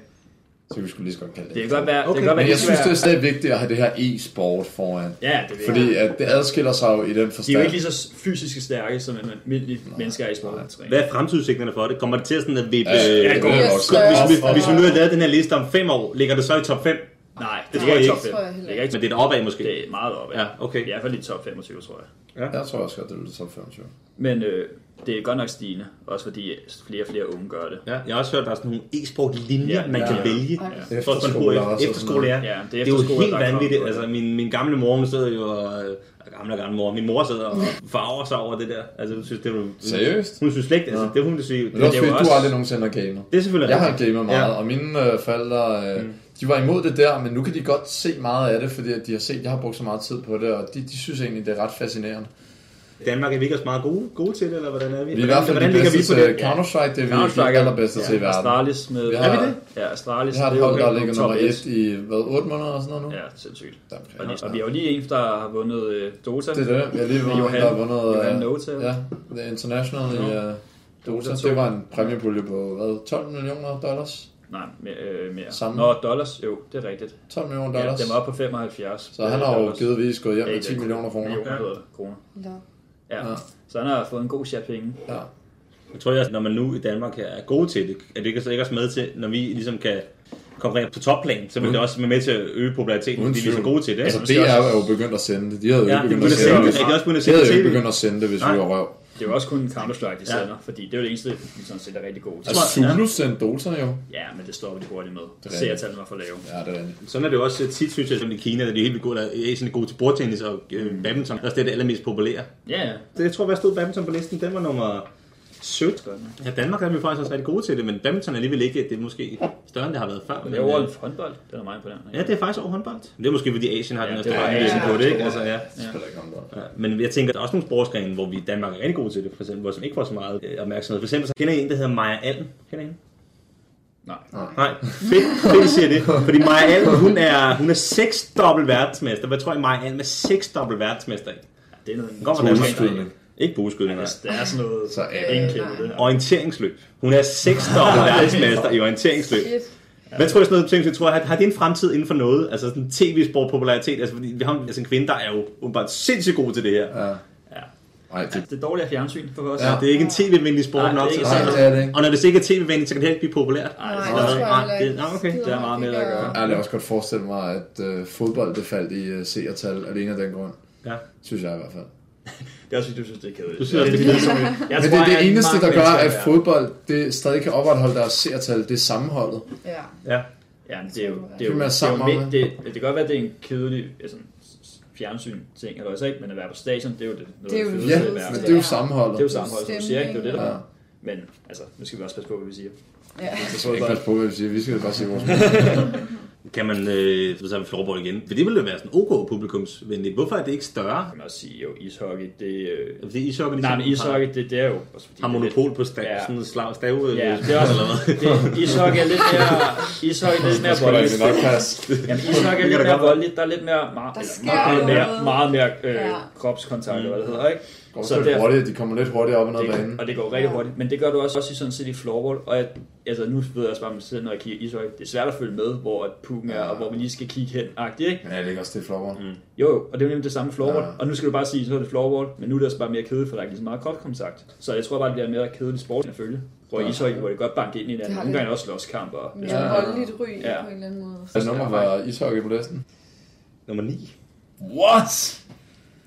[SPEAKER 1] Så kan vi skulle lige så godt kalde det.
[SPEAKER 3] Det kan godt være, det
[SPEAKER 2] Okay.
[SPEAKER 3] kan godt være,
[SPEAKER 1] Men
[SPEAKER 3] det
[SPEAKER 1] jeg
[SPEAKER 3] skal
[SPEAKER 1] synes, det
[SPEAKER 3] være-
[SPEAKER 1] er stadig vigtigt at have det her e-sport foran.
[SPEAKER 3] Ja, det ved jeg.
[SPEAKER 1] Fordi at det adskiller sig jo i den
[SPEAKER 3] De er jo
[SPEAKER 1] forstand.
[SPEAKER 3] ikke lige så fysisk stærke, som en almindelig menneske er i sportstræning.
[SPEAKER 2] Hvad er fremtidsudsigterne for det? Kommer det til sådan at vippe...
[SPEAKER 1] Ja,
[SPEAKER 2] Øh,
[SPEAKER 1] ja,
[SPEAKER 2] hvis,
[SPEAKER 1] går
[SPEAKER 4] det er
[SPEAKER 1] nok.
[SPEAKER 4] større.
[SPEAKER 2] vi, hvis vi nu har lavet den her liste om 5 år, ligger det så i top 5?
[SPEAKER 3] Nej, det,
[SPEAKER 2] tror
[SPEAKER 3] tror
[SPEAKER 2] jeg
[SPEAKER 3] jeg ikke.
[SPEAKER 2] ikke.
[SPEAKER 4] Det tror jeg heller
[SPEAKER 3] Det er
[SPEAKER 2] Men
[SPEAKER 3] ikke top
[SPEAKER 2] det er da opad måske.
[SPEAKER 3] 5. Det er meget oppe.
[SPEAKER 2] Ja, okay.
[SPEAKER 3] I hvert fald i top 25, tror jeg.
[SPEAKER 1] Jeg tror også godt, det bliver top 25.
[SPEAKER 3] Men øh, det er godt nok stigende, også fordi flere og flere unge gør det.
[SPEAKER 2] Ja, jeg har også hørt, at der er sådan nogle e-sport-linjer,
[SPEAKER 3] Ja,
[SPEAKER 2] man
[SPEAKER 3] ja,
[SPEAKER 2] kan
[SPEAKER 3] ja.
[SPEAKER 2] vælge.
[SPEAKER 1] Ja.
[SPEAKER 2] For at man
[SPEAKER 1] Efterskoler
[SPEAKER 2] bruger
[SPEAKER 1] også, og
[SPEAKER 2] efterskole, ja.
[SPEAKER 1] sådan
[SPEAKER 3] Ja, det er
[SPEAKER 2] det er jo
[SPEAKER 3] efterskoler,
[SPEAKER 2] helt
[SPEAKER 3] der er
[SPEAKER 2] vanvittigt.
[SPEAKER 3] kommet.
[SPEAKER 2] Altså, min, min gamle mor, hun sidder jo og... øh, Gamle, gamle mor. Min mor sidder og farver sig over det der. Altså, hun synes, det er jo...
[SPEAKER 1] Seriøst?
[SPEAKER 2] Hun synes slet ikke, altså, det er hun, der siger.
[SPEAKER 1] Men det er også
[SPEAKER 3] det er jo
[SPEAKER 1] fordi, du
[SPEAKER 3] også-
[SPEAKER 1] aldrig nogensinde har gamet.
[SPEAKER 2] Det er selvfølgelig
[SPEAKER 1] Jeg har
[SPEAKER 2] rigtigt.
[SPEAKER 1] gamet meget,
[SPEAKER 2] Ja.
[SPEAKER 1] ja. og mine øh, forældre, øh, mm. de var imod det der, men nu kan de godt se meget af det, fordi at de har set, jeg har brugt så meget tid på det, og de, de synes egentlig, det er ret fascinerende.
[SPEAKER 2] Danmark er vi ikke også meget gode, gode til det, eller hvordan er vi?
[SPEAKER 1] Vi øh, er i hvert fald
[SPEAKER 2] hvordan
[SPEAKER 1] de
[SPEAKER 2] ligger vi
[SPEAKER 1] bedste
[SPEAKER 2] på
[SPEAKER 1] til
[SPEAKER 2] det?
[SPEAKER 1] Counter-Strike, det er vi
[SPEAKER 3] Counter-Strike
[SPEAKER 1] de
[SPEAKER 3] er-
[SPEAKER 1] allerbedste til i verden.
[SPEAKER 3] Astralis med...
[SPEAKER 1] Vi har- Er
[SPEAKER 2] vi det?
[SPEAKER 3] Ja, Astralis.
[SPEAKER 1] Vi har
[SPEAKER 3] det
[SPEAKER 1] et
[SPEAKER 3] er jo
[SPEAKER 1] hold, der ligger
[SPEAKER 3] top
[SPEAKER 1] nummer 1 i, hvad, 8 måneder og sådan noget nu?
[SPEAKER 3] Ja, sindssygt.
[SPEAKER 1] Der
[SPEAKER 3] Og,
[SPEAKER 1] omkring.
[SPEAKER 3] lige, og vi har jo lige en, der har vundet øh, Dota.
[SPEAKER 1] altså- Det er det, jeg har lige vundet,
[SPEAKER 3] Johan-
[SPEAKER 1] der har vundet
[SPEAKER 3] Johan
[SPEAKER 1] øh,
[SPEAKER 3] Nota.
[SPEAKER 1] ja, The International i øh, Dota.
[SPEAKER 3] Dota to.
[SPEAKER 1] Det var en præmiepulje på, hvad, 12 millioner dollars?
[SPEAKER 3] Nej, mere, øh, mere.
[SPEAKER 1] Samme.
[SPEAKER 3] Nå, dollars. Jo, det er rigtigt.
[SPEAKER 1] 12 millioner
[SPEAKER 3] Ja,
[SPEAKER 1] dollars.
[SPEAKER 3] den var oppe på 75.
[SPEAKER 1] Så han har jo
[SPEAKER 3] Dollars.
[SPEAKER 1] givetvis gået hjem
[SPEAKER 3] Ja,
[SPEAKER 1] med
[SPEAKER 3] det
[SPEAKER 1] 10
[SPEAKER 3] er-
[SPEAKER 1] millioner kroner.
[SPEAKER 3] Millioner hedder det, kroner.
[SPEAKER 4] Nå.
[SPEAKER 3] Ja.
[SPEAKER 1] Ja.
[SPEAKER 3] Så han har fået en god chat penge.
[SPEAKER 1] Ja.
[SPEAKER 2] Jeg tror, at når man nu i Danmark her er gode til det, at det kan så ikke også med til, når vi ligesom kan konkurrere på topplan, så vil det også være med til at øge populariteten,
[SPEAKER 1] Mm. Uden
[SPEAKER 2] fordi vi er så
[SPEAKER 1] tvivl.
[SPEAKER 2] gode til det.
[SPEAKER 1] Altså,
[SPEAKER 2] ikke?
[SPEAKER 1] DR er jo begyndt at sende det. De havde jo ikke
[SPEAKER 2] Ja, det
[SPEAKER 1] begyndt at
[SPEAKER 2] begynder at
[SPEAKER 1] sende
[SPEAKER 2] sende,
[SPEAKER 1] det.
[SPEAKER 2] det er også begyndt at
[SPEAKER 1] De
[SPEAKER 2] sende
[SPEAKER 1] havde jo ikke
[SPEAKER 2] til
[SPEAKER 1] begyndt at sende det, hvis
[SPEAKER 2] Nej.
[SPEAKER 1] vi var røv.
[SPEAKER 3] Det er jo også kun Counter-Strike, de
[SPEAKER 2] Ja.
[SPEAKER 3] sender, fordi det er jo det eneste, de sådan set er rigtig gode til.
[SPEAKER 1] Altså,
[SPEAKER 2] tror jeg,
[SPEAKER 1] Zulu sendte Dota jo.
[SPEAKER 3] Ja, men det stopper de hurtigt med. Det
[SPEAKER 1] er
[SPEAKER 3] ser jeg
[SPEAKER 1] rigtigt.
[SPEAKER 3] tallene var for lave.
[SPEAKER 1] Ja, det er det.
[SPEAKER 2] Sådan er det jo også tit, synes jeg, som i Kina, der de er helt vildt gode, der Asien er gode til bordtennis og øh, badminton. Det er også det, der er allermest populære.
[SPEAKER 3] Ja, ja.
[SPEAKER 2] Det, jeg tror, hvad stod badminton på listen? Den var nummer 17. Ja, Danmark er vi faktisk også rigtig gode til det, men badminton er alligevel ikke, det er måske større, end det har været før. øh,
[SPEAKER 3] Det er over en håndbold. Det er meget imponerende.
[SPEAKER 2] Ja, det er faktisk over håndbold. Det er måske, fordi Asien har
[SPEAKER 3] Ja,
[SPEAKER 2] den her
[SPEAKER 3] det er
[SPEAKER 2] større
[SPEAKER 3] Asien.
[SPEAKER 2] Asien på det, ikke? Altså, ja.
[SPEAKER 1] Det spiller ikke om det.
[SPEAKER 2] Ja, Men jeg tænker, der er også nogle sportsgrene, hvor vi i Danmark er rigtig gode til det, for eksempel, hvor som ikke får så meget øh, opmærksomhed. For eksempel så kender I en, der hedder Maja Alm. Kender I hende?
[SPEAKER 3] Nej.
[SPEAKER 2] Nej, fedt, fedt, I siger det. Fordi Maja Alm, hun er, hun er seksdobbelt verdensmester. Hvad tror I, Maja Alm er seksdobbelt verdensmester i?
[SPEAKER 3] det er noget...
[SPEAKER 2] Kommer
[SPEAKER 3] det er
[SPEAKER 2] Danmark.
[SPEAKER 1] Bueskydning.
[SPEAKER 2] Ikke bueskydning, nej.
[SPEAKER 3] Altså, der er sådan noget...
[SPEAKER 1] Så øh,
[SPEAKER 3] Så
[SPEAKER 1] er
[SPEAKER 3] er
[SPEAKER 1] det-
[SPEAKER 3] ingen kæmpe det der.
[SPEAKER 2] Orienteringsløb. Hun er seksdobbelt verdensmester i orienteringsløb.
[SPEAKER 4] Shit.
[SPEAKER 2] Hvad tror jeg sådan noget, tænker, jeg tror, har, har det en fremtid inden for noget? Altså sådan tv-sport popularitet? Altså, fordi vi har en- altså, en kvinde, der er jo åbenbart sindssygt god til det her.
[SPEAKER 1] Ja.
[SPEAKER 3] Ja.
[SPEAKER 1] Nej, det,
[SPEAKER 3] Det er dårligt af fjernsyn for os.
[SPEAKER 1] Ja.
[SPEAKER 3] Ja.
[SPEAKER 2] Det er ikke en tv-venlig sport
[SPEAKER 3] Nej, det er
[SPEAKER 2] nok.
[SPEAKER 3] ikke
[SPEAKER 2] til-
[SPEAKER 1] nej, det er det ikke.
[SPEAKER 2] Og når det ikke er tv-venligt, så kan det heller ikke blive populært.
[SPEAKER 3] Ej, det
[SPEAKER 4] Nej,
[SPEAKER 3] er
[SPEAKER 4] det
[SPEAKER 3] sådan
[SPEAKER 4] tror
[SPEAKER 3] noget.
[SPEAKER 4] jeg
[SPEAKER 2] nej,
[SPEAKER 4] heller
[SPEAKER 2] det-
[SPEAKER 4] ikke.
[SPEAKER 2] nej, okay.
[SPEAKER 4] Skider
[SPEAKER 3] Der er meget
[SPEAKER 4] nok,
[SPEAKER 3] mere,
[SPEAKER 4] det
[SPEAKER 3] der gør.
[SPEAKER 1] Jeg kan også godt forestille mig, at øh, fodbold det faldt i øh, seertal alene af den grund.
[SPEAKER 2] Ja.
[SPEAKER 1] Synes jeg i hvert fald.
[SPEAKER 3] Det er også, fordi du synes, det er kedeligt.
[SPEAKER 2] Du synes også, det er
[SPEAKER 3] kedeligt.
[SPEAKER 1] Men det er det eneste, der gør, at fodbold det stadig kan opretholde deres seertal, det er sammenholdet.
[SPEAKER 4] Ja.
[SPEAKER 2] Ja.
[SPEAKER 3] Ja, men det er jo... Det, er
[SPEAKER 1] Kan
[SPEAKER 3] jo,
[SPEAKER 1] man
[SPEAKER 3] det, er
[SPEAKER 1] sammen
[SPEAKER 3] jo,
[SPEAKER 1] om
[SPEAKER 3] vigtigt- det, det kan godt være, at det er en kedelig altså, fjernsyn ting, eller også ikke, men at være på stadion, det er jo det, noget
[SPEAKER 4] Det er jo
[SPEAKER 3] fedeste
[SPEAKER 1] Ja,
[SPEAKER 3] i verden.
[SPEAKER 1] men det er jo
[SPEAKER 3] Det
[SPEAKER 1] sammenholdet.
[SPEAKER 3] er jo sammenhold, som du siger, ikke? Det er jo det, der
[SPEAKER 1] Ja.
[SPEAKER 3] ja. Men altså, nu skal vi også passe på, hvad vi siger.
[SPEAKER 4] ja.
[SPEAKER 1] Det skal ikke passe på, hvad vi siger. Vi skal bare sige vores
[SPEAKER 2] Kan man øh, så tage floorball igen? For det ville jo være sådan ok publikumsvenligt. Hvorfor er det ikke større?
[SPEAKER 3] Man kan også sige, jo, ishockey, det... Øh,
[SPEAKER 2] Fordi ishockey,
[SPEAKER 3] nej, men
[SPEAKER 2] har-
[SPEAKER 3] ishockey, det, det er jo... Også fordi
[SPEAKER 2] har
[SPEAKER 3] det er lidt-
[SPEAKER 2] monopol på stav,
[SPEAKER 3] Ja.
[SPEAKER 2] sådan en slag, stave.
[SPEAKER 3] Ja, det er også... Det, ishockey er lidt mere... Ishockey er lidt mere voldeligt. Jamen, ishockey
[SPEAKER 2] Det kan da
[SPEAKER 3] er lidt mere
[SPEAKER 2] godt være.
[SPEAKER 3] voldeligt. Der er lidt mere... Meget,
[SPEAKER 4] Der
[SPEAKER 3] eller
[SPEAKER 4] sker
[SPEAKER 3] meget,
[SPEAKER 4] noget.
[SPEAKER 3] mere, meget mere øh,
[SPEAKER 4] Ja.
[SPEAKER 3] kropskontakt, eller
[SPEAKER 2] Mm.
[SPEAKER 3] hvad det hedder, ikke?
[SPEAKER 1] Så
[SPEAKER 3] Så derfor-
[SPEAKER 1] hurtigt, de kommer lidt hurtigere op og ned ad banen.
[SPEAKER 3] Det, og det går rigtig
[SPEAKER 4] Ja.
[SPEAKER 3] hurtigt. Men det gør du også, også i sådan set i floorball. Og at, altså, nu ved jeg også bare, at man sidder, når jeg kigger ishockey. Det er svært at følge med, hvor at pukken er,
[SPEAKER 1] Ja.
[SPEAKER 3] og hvor vi lige skal kigge hen. Agtigt, ikke?
[SPEAKER 1] Men er det ikke også det flopper? Mm.
[SPEAKER 3] Jo, jo, og det er jo nemlig det samme floorball.
[SPEAKER 1] Ja.
[SPEAKER 3] Ja. Og nu skal du bare sige, så er det floorball, men nu er det også bare mere kedeligt, for der er ikke lige så meget kropskontakt. Så jeg tror bare, det bliver en mere kedelig sport end at følge. Hvor
[SPEAKER 1] Ja.
[SPEAKER 3] ja. ishockey, hvor det godt banke ind i hinanden.
[SPEAKER 4] har
[SPEAKER 3] Nogle
[SPEAKER 4] det.
[SPEAKER 3] gange er der også slåskamp og
[SPEAKER 4] Mere
[SPEAKER 1] Ja.
[SPEAKER 4] voldeligt ryg
[SPEAKER 3] Ja.
[SPEAKER 4] på en eller anden måde.
[SPEAKER 1] Altså, nummer var ishockey på listen.
[SPEAKER 2] Nummer 9.
[SPEAKER 1] What?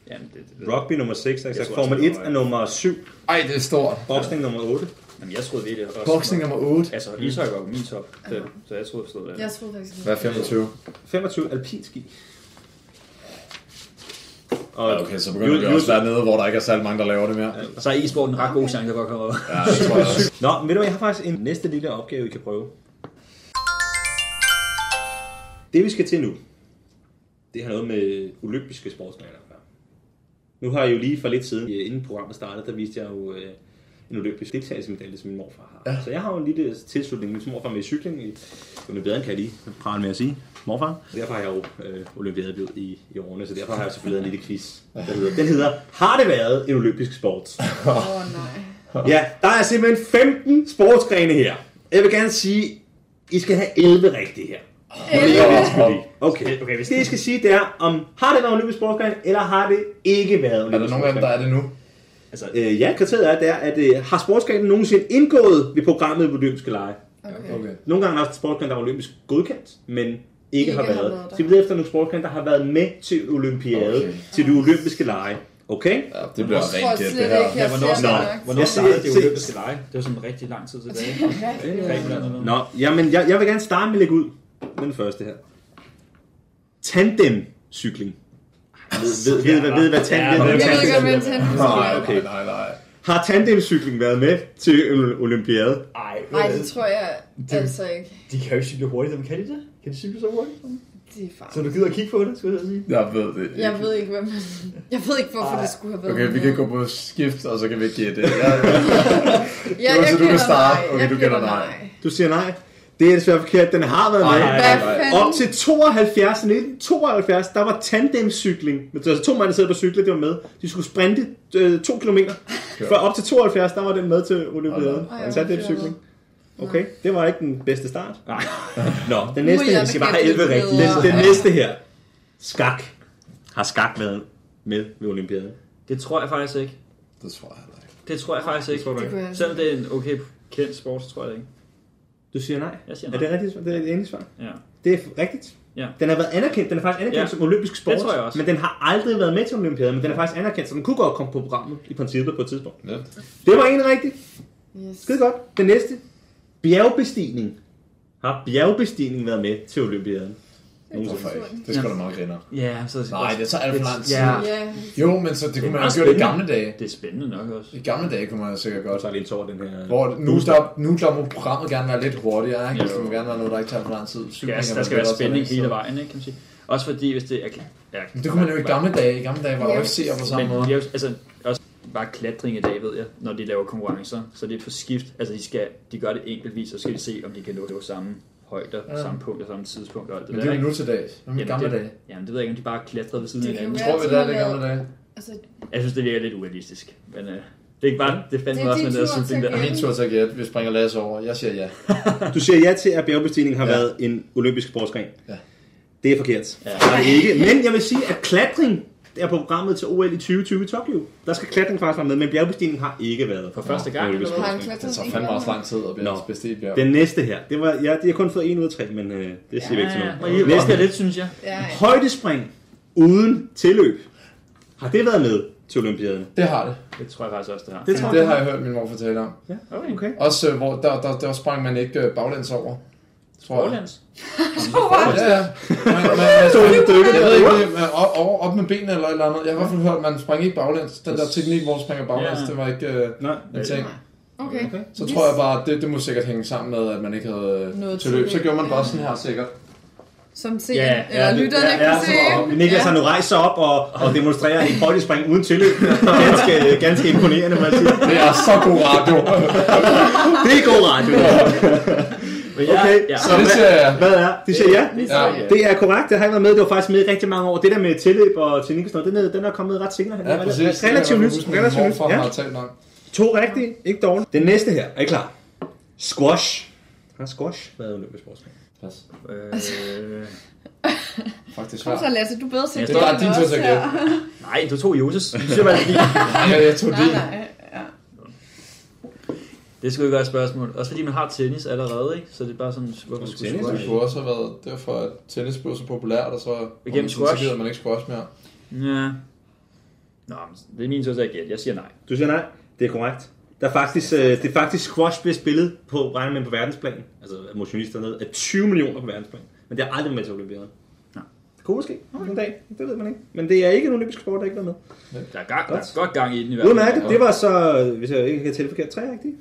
[SPEAKER 3] Jamen, det, det,
[SPEAKER 2] Rugby nummer 6, altså
[SPEAKER 3] Jeg tror
[SPEAKER 2] Formel
[SPEAKER 3] også,
[SPEAKER 2] 1
[SPEAKER 3] det var-
[SPEAKER 2] er nummer 7,
[SPEAKER 1] Ej, det er stort.
[SPEAKER 2] boksning nummer 8.
[SPEAKER 3] jamen, jeg troede virkelig også.
[SPEAKER 1] Boxing nummer 8.
[SPEAKER 3] Altså, ishockey var på min top 5, så jeg troede, jeg stod der.
[SPEAKER 4] Jeg troede faktisk, det
[SPEAKER 1] Hvad er 25?
[SPEAKER 2] 25 alpinski. Og
[SPEAKER 1] Ja, okay, så begynder vi også dernede, hvor der ikke er særlig mange, der laver det mere.
[SPEAKER 3] Så er e-sporten en ret god chance for at komme op.
[SPEAKER 1] Ja, det tror jeg også.
[SPEAKER 2] Nå, men ved du hvad, jeg har faktisk en næste lille opgave, I kan prøve. Det vi skal til nu, det har noget med olympiske sportsgrene at gøre. Nu har jeg jo lige for lidt siden, øh, inden programmet startede, der viste jeg jo øh, en olympisk deltagelsesmedalje, som min morfar har. Ja. Så jeg har jo en lille tilslutning. Min morfar er med i cykling. i- Jo, det bedre end kan jeg lige prale med at sige. Morfar. Derfor har jeg jo øh, olympiadeblod i, i årene, så derfor har jeg selvfølgelig en lille quiz. Der hedder, den hedder, har det været en olympisk sport?
[SPEAKER 4] Åh, oh, nej.
[SPEAKER 2] Ja, der er simpelthen 15 sportsgrene her. Jeg vil gerne sige, I skal have 11 rigtige her.
[SPEAKER 1] Fordi-
[SPEAKER 2] Okay. okay hvis det, I skal sige, det er, om har det været olympisk sportsgren, eller har det ikke været
[SPEAKER 1] Er der
[SPEAKER 2] olympisk
[SPEAKER 1] nogen af dem, der er det nu?
[SPEAKER 3] Altså,
[SPEAKER 2] sportsgren? Øh, ja, kriteriet er, det er at øh, har sportsgrenen nogensinde indgået ved programmet ved olympiske lege?
[SPEAKER 4] Okay.
[SPEAKER 1] Okay.
[SPEAKER 2] Nogle gange er der sportsgren, der er olympisk godkendt, men ikke, ikke har, været.
[SPEAKER 4] der.
[SPEAKER 2] Så vi leder efter nogle sportsgrene, der har været med til olympiade,
[SPEAKER 1] Okay.
[SPEAKER 2] okay. til de olympiske lege. Okay?
[SPEAKER 1] Ja, det bliver
[SPEAKER 4] Jeg tror
[SPEAKER 1] rent gæt, det
[SPEAKER 4] slet
[SPEAKER 1] her.
[SPEAKER 4] ikke, jeg
[SPEAKER 3] hvornår,
[SPEAKER 4] ser
[SPEAKER 2] Nå.
[SPEAKER 4] det nok.
[SPEAKER 3] hvornår
[SPEAKER 2] Jeg siger-
[SPEAKER 3] startede det
[SPEAKER 2] se-
[SPEAKER 3] olympiske lege? Det var sådan rigtig lang tid tilbage. Grækenland eller noget.
[SPEAKER 2] Nå, jamen, jeg, jeg vil gerne starte med at lægge ud med den første her. Tandemcykling. Ved, ved, ved, ved, ved, hvad
[SPEAKER 3] Ja,
[SPEAKER 2] tandem, ved, hvad
[SPEAKER 4] Jeg ved ikke,
[SPEAKER 2] tandem
[SPEAKER 4] om jeg tændte på
[SPEAKER 1] Nej,
[SPEAKER 2] Okay.
[SPEAKER 1] nej, nej, nej.
[SPEAKER 2] Har tandemcykling været med til Øl- olympiade?
[SPEAKER 3] Ej,
[SPEAKER 4] Nej, det tror jeg altså ikke.
[SPEAKER 3] de kan jo ikke cykle hurtigt, men kan de det? Kan de cykle så hurtigt?
[SPEAKER 4] Det er far.
[SPEAKER 3] Så du gider at kigge på det, skulle jeg sige.
[SPEAKER 1] Jeg ved det ikke.
[SPEAKER 4] Jeg ved ikke, hvem Jeg ved ikke, hvorfor det skulle have været
[SPEAKER 1] Okay, vi kan gå på skift, og så kan vi gætte. Jeg,
[SPEAKER 4] Ja,
[SPEAKER 1] Det var,
[SPEAKER 4] jeg
[SPEAKER 1] så du kan
[SPEAKER 4] gætter
[SPEAKER 1] starte.
[SPEAKER 4] nej.
[SPEAKER 1] Okay,
[SPEAKER 4] Jeg
[SPEAKER 1] du gætter nej.
[SPEAKER 2] Du siger nej. Det er desværre forkert. Den har været med.
[SPEAKER 3] Ej,
[SPEAKER 4] Hvad
[SPEAKER 1] nej.
[SPEAKER 4] fanden?
[SPEAKER 2] Op til 72, 1972, der var tandemcykling. Altså to mænd, der sad på cykler, det var med. De skulle sprinte øh, to kilometer. For op til 72, der var den med til olympiaden.
[SPEAKER 4] Ej, hvor
[SPEAKER 2] Tandemcykling. Okay, det var ikke den bedste start.
[SPEAKER 3] Nej.
[SPEAKER 2] Nå, den næste
[SPEAKER 4] jeg
[SPEAKER 2] her.
[SPEAKER 4] da
[SPEAKER 2] Skal bare
[SPEAKER 4] gætte
[SPEAKER 2] have 11
[SPEAKER 4] lidt
[SPEAKER 2] rigtigt.
[SPEAKER 4] bedre.
[SPEAKER 2] Den, den næste her. Skak. Har skak været med ved olympiaden?
[SPEAKER 3] Det tror jeg faktisk ikke.
[SPEAKER 1] det tror jeg heller ikke.
[SPEAKER 3] Ah, Det tror jeg altså faktisk ikke.
[SPEAKER 4] Det kunne jeg ikke.
[SPEAKER 3] Selvom det er en okay kendt sport, så tror jeg det ikke.
[SPEAKER 2] Du siger nej.
[SPEAKER 3] Jeg siger
[SPEAKER 2] Er
[SPEAKER 3] nej.
[SPEAKER 2] det rigtigt? svar? Det er det endelige svar.
[SPEAKER 3] Ja.
[SPEAKER 2] Det er rigtigt.
[SPEAKER 3] Ja.
[SPEAKER 2] Den har været anerkendt. Den er faktisk anerkendt ja.
[SPEAKER 3] Ja.
[SPEAKER 2] som olympisk sport.
[SPEAKER 3] Det tror jeg også.
[SPEAKER 2] Men den har aldrig været med til olympiaden, men den er faktisk anerkendt, så den kunne godt komme på programmet i princippet på et tidspunkt.
[SPEAKER 1] Ja.
[SPEAKER 2] Det var en rigtig.
[SPEAKER 4] Yes.
[SPEAKER 2] Skide godt. Den næste. Bjergbestigning. Har bjergbestigning været med til olympiaden?
[SPEAKER 1] Hvorfor ikke? Det skulle sgu da meget griner.
[SPEAKER 3] Ja, så
[SPEAKER 1] Nej, det tager alt for lang tid.
[SPEAKER 3] Ja.
[SPEAKER 4] Ja,
[SPEAKER 1] Jo, men så det kunne man
[SPEAKER 3] meget
[SPEAKER 1] også gøre i
[SPEAKER 3] spændende.
[SPEAKER 1] gamle dage.
[SPEAKER 3] Det er spændende nok også.
[SPEAKER 1] I gamle dage kunne man sikkert godt.
[SPEAKER 2] Så er det en tår, den her.
[SPEAKER 1] Hvor nu, der, nu der må programmet gerne være lidt hurtigere, ikke? Altså, Det
[SPEAKER 3] Jo.
[SPEAKER 1] må gerne være noget, der ikke tager for lang tid. Cykling
[SPEAKER 3] Gas,
[SPEAKER 1] er
[SPEAKER 3] der
[SPEAKER 1] vel
[SPEAKER 3] skal være
[SPEAKER 1] bedre til
[SPEAKER 3] spænding
[SPEAKER 1] det, så-
[SPEAKER 3] hele vejen, ikke, kan man sige. Også fordi, hvis det er... Ja,
[SPEAKER 1] Men det kunne man jo i gamle dage. I gamle dage var der jo
[SPEAKER 4] Ja.
[SPEAKER 1] ikke seere på samme
[SPEAKER 3] Men
[SPEAKER 1] måde.
[SPEAKER 3] de er jo, altså, også bare klatring i dag, ved jeg, når de laver konkurrencer. Så det er på skift. Altså, de, skal, de gør det enkeltvis, så skal de se, om de kan nå nå samme højder,
[SPEAKER 1] Ja.
[SPEAKER 3] ja. samme punkt og samme tidspunkt og alt det
[SPEAKER 1] Men det
[SPEAKER 3] der.
[SPEAKER 1] er jo
[SPEAKER 3] ikke?
[SPEAKER 1] nu til dags. Men i gamle
[SPEAKER 3] det,
[SPEAKER 1] dage.
[SPEAKER 3] Jamen, det ved jeg ikke, om de bare klatrede ved siden
[SPEAKER 4] Det
[SPEAKER 3] af
[SPEAKER 4] kan
[SPEAKER 3] hinanden.
[SPEAKER 4] være.
[SPEAKER 1] Tror vi, det er det i
[SPEAKER 4] altid
[SPEAKER 1] gamle dage?
[SPEAKER 4] Altså,
[SPEAKER 3] Jeg synes, det virker lidt urealistisk. Men øh, det er ikke bare, det
[SPEAKER 4] Det
[SPEAKER 3] fandt
[SPEAKER 4] er
[SPEAKER 3] mig også,
[SPEAKER 4] din
[SPEAKER 3] men jeg
[SPEAKER 4] tur
[SPEAKER 3] synes,
[SPEAKER 4] til
[SPEAKER 3] det
[SPEAKER 1] Det er
[SPEAKER 3] der.
[SPEAKER 1] min tur til at gætte. Vi springer Lasse over. Jeg siger ja.
[SPEAKER 2] Du siger ja til, at bjergbestigning har ja.
[SPEAKER 1] Ja.
[SPEAKER 2] været en olympisk sportsgren.
[SPEAKER 1] Ja.
[SPEAKER 2] Det er forkert.
[SPEAKER 3] Ja.
[SPEAKER 2] Ja. Det er det ikke. Men jeg vil sige, at klatring er på programmet til OL i 2020 i Tokyo. Der skal klatring faktisk være med, men bjergbestigning har ikke været.
[SPEAKER 3] For første gang, eller
[SPEAKER 4] har han
[SPEAKER 3] hvad?
[SPEAKER 4] klatret
[SPEAKER 1] Det tager
[SPEAKER 4] en
[SPEAKER 1] fandme
[SPEAKER 4] gang?
[SPEAKER 1] også lang tid at
[SPEAKER 2] Nå.
[SPEAKER 1] blive bestilt bjerg.
[SPEAKER 2] Den næste her, det var, ja, de har kun fået en ud af tre, men øh, det siger ja, vi ikke til
[SPEAKER 3] Ja, og
[SPEAKER 2] nogen.
[SPEAKER 3] I
[SPEAKER 2] Næste
[SPEAKER 3] vasker
[SPEAKER 2] er det.
[SPEAKER 3] lidt, synes jeg.
[SPEAKER 4] Ja, ja.
[SPEAKER 2] Højdespring uden tilløb. Har det været med til Olympiaden?
[SPEAKER 1] Det har det.
[SPEAKER 3] Det tror jeg faktisk også, det har.
[SPEAKER 2] Det tror jeg.
[SPEAKER 1] Det har jeg hørt min mor fortælle om.
[SPEAKER 3] Okay. okay.
[SPEAKER 1] Også øh, hvor der, der, der sprang man ikke øh, baglæns over. Tror jeg.
[SPEAKER 3] Forlands.
[SPEAKER 1] Ja, ja. Man, man, man sprang,
[SPEAKER 2] det dykke.
[SPEAKER 1] jeg ved ikke, man, op, over, op med benene eller et eller andet. Jeg har i hvert fald hørt, at man sprang ikke baglæns. Den der teknik, hvor man springer baglæns,
[SPEAKER 3] Ja.
[SPEAKER 1] det var ikke øh,
[SPEAKER 2] Nej.
[SPEAKER 1] en ting.
[SPEAKER 4] Okay.
[SPEAKER 2] Okay.
[SPEAKER 1] Så tror jeg bare, at det, det må sikkert hænge sammen med, at man ikke havde
[SPEAKER 4] Noget
[SPEAKER 1] Noget tilløb. Så
[SPEAKER 4] tilløb.
[SPEAKER 1] gjorde man bare sådan her sikkert.
[SPEAKER 4] Som til,
[SPEAKER 3] Ja,
[SPEAKER 4] ja,
[SPEAKER 3] ja,
[SPEAKER 4] eller
[SPEAKER 3] det-
[SPEAKER 4] lytterne
[SPEAKER 2] Ja,
[SPEAKER 4] kan
[SPEAKER 2] ja,
[SPEAKER 4] se.
[SPEAKER 2] så, og Niklas har nu rejst sig op og, og demonstrerer et højdespring uden tilløb. Ganske, ganske imponerende, må jeg sige.
[SPEAKER 1] Det er så god radio.
[SPEAKER 2] Det er god radio.
[SPEAKER 3] Men jeg,
[SPEAKER 2] Okay,
[SPEAKER 3] ja.
[SPEAKER 1] Så det siger jeg.
[SPEAKER 2] Hvad er? De siger ja.
[SPEAKER 4] Vi
[SPEAKER 1] Ja.
[SPEAKER 4] ser.
[SPEAKER 2] Det er korrekt, det har ikke været med. Det var faktisk med i rigtig mange år. Det der med tilløb og teknik og sådan noget, den er, den er kommet ret senere. hen.
[SPEAKER 1] Ja, præcis.
[SPEAKER 2] Relativt nyt. Relativt nyt.
[SPEAKER 1] Ja.
[SPEAKER 2] Ja.
[SPEAKER 1] Har talt om.
[SPEAKER 2] To rigtige, ikke dårligt. Den næste her, er I klar? Squash. Har squash været olympisk sportsgren?
[SPEAKER 1] Pas.
[SPEAKER 3] Øh,
[SPEAKER 1] Faktisk
[SPEAKER 4] Kom
[SPEAKER 1] svært.
[SPEAKER 4] så, Lasse, du er bedre til
[SPEAKER 3] Ja,
[SPEAKER 1] Det er bare din tur til at
[SPEAKER 4] også
[SPEAKER 1] gætte.
[SPEAKER 4] her.
[SPEAKER 3] nej, du tog Joses. Det synes jeg var lige.
[SPEAKER 1] Ja, jeg tog
[SPEAKER 4] Nej,
[SPEAKER 1] din.
[SPEAKER 4] nej. Ja.
[SPEAKER 3] Det skulle ikke være et spørgsmål. Også fordi man har tennis allerede, ikke? Så det er bare sådan, hvorfor skulle
[SPEAKER 2] Tennis,
[SPEAKER 1] Det
[SPEAKER 3] squash?
[SPEAKER 1] kunne også have været derfor, at tennis blev så populært, og så
[SPEAKER 3] Igennem
[SPEAKER 1] så
[SPEAKER 3] squash.
[SPEAKER 1] gider man ikke squash mere.
[SPEAKER 3] Ja. Nå, men det er min tur til at gætte. Jeg siger nej.
[SPEAKER 2] Du siger nej? Det er korrekt. Der er faktisk, øh, det er faktisk squash bliver spillet på, regner man på verdensplan, altså af motionister ned, af 20 millioner på verdensplan. Men det har aldrig været med til olympiaden.
[SPEAKER 3] Nej.
[SPEAKER 2] Det kunne måske en dag, det ved man ikke. Men det er ikke en olympisk sport, der ikke har været med.
[SPEAKER 3] Der er, gang, der er godt gang i den i hvert fald.
[SPEAKER 2] Udmærket, det var så, hvis jeg ikke kan tælle forkert, tre rigtige.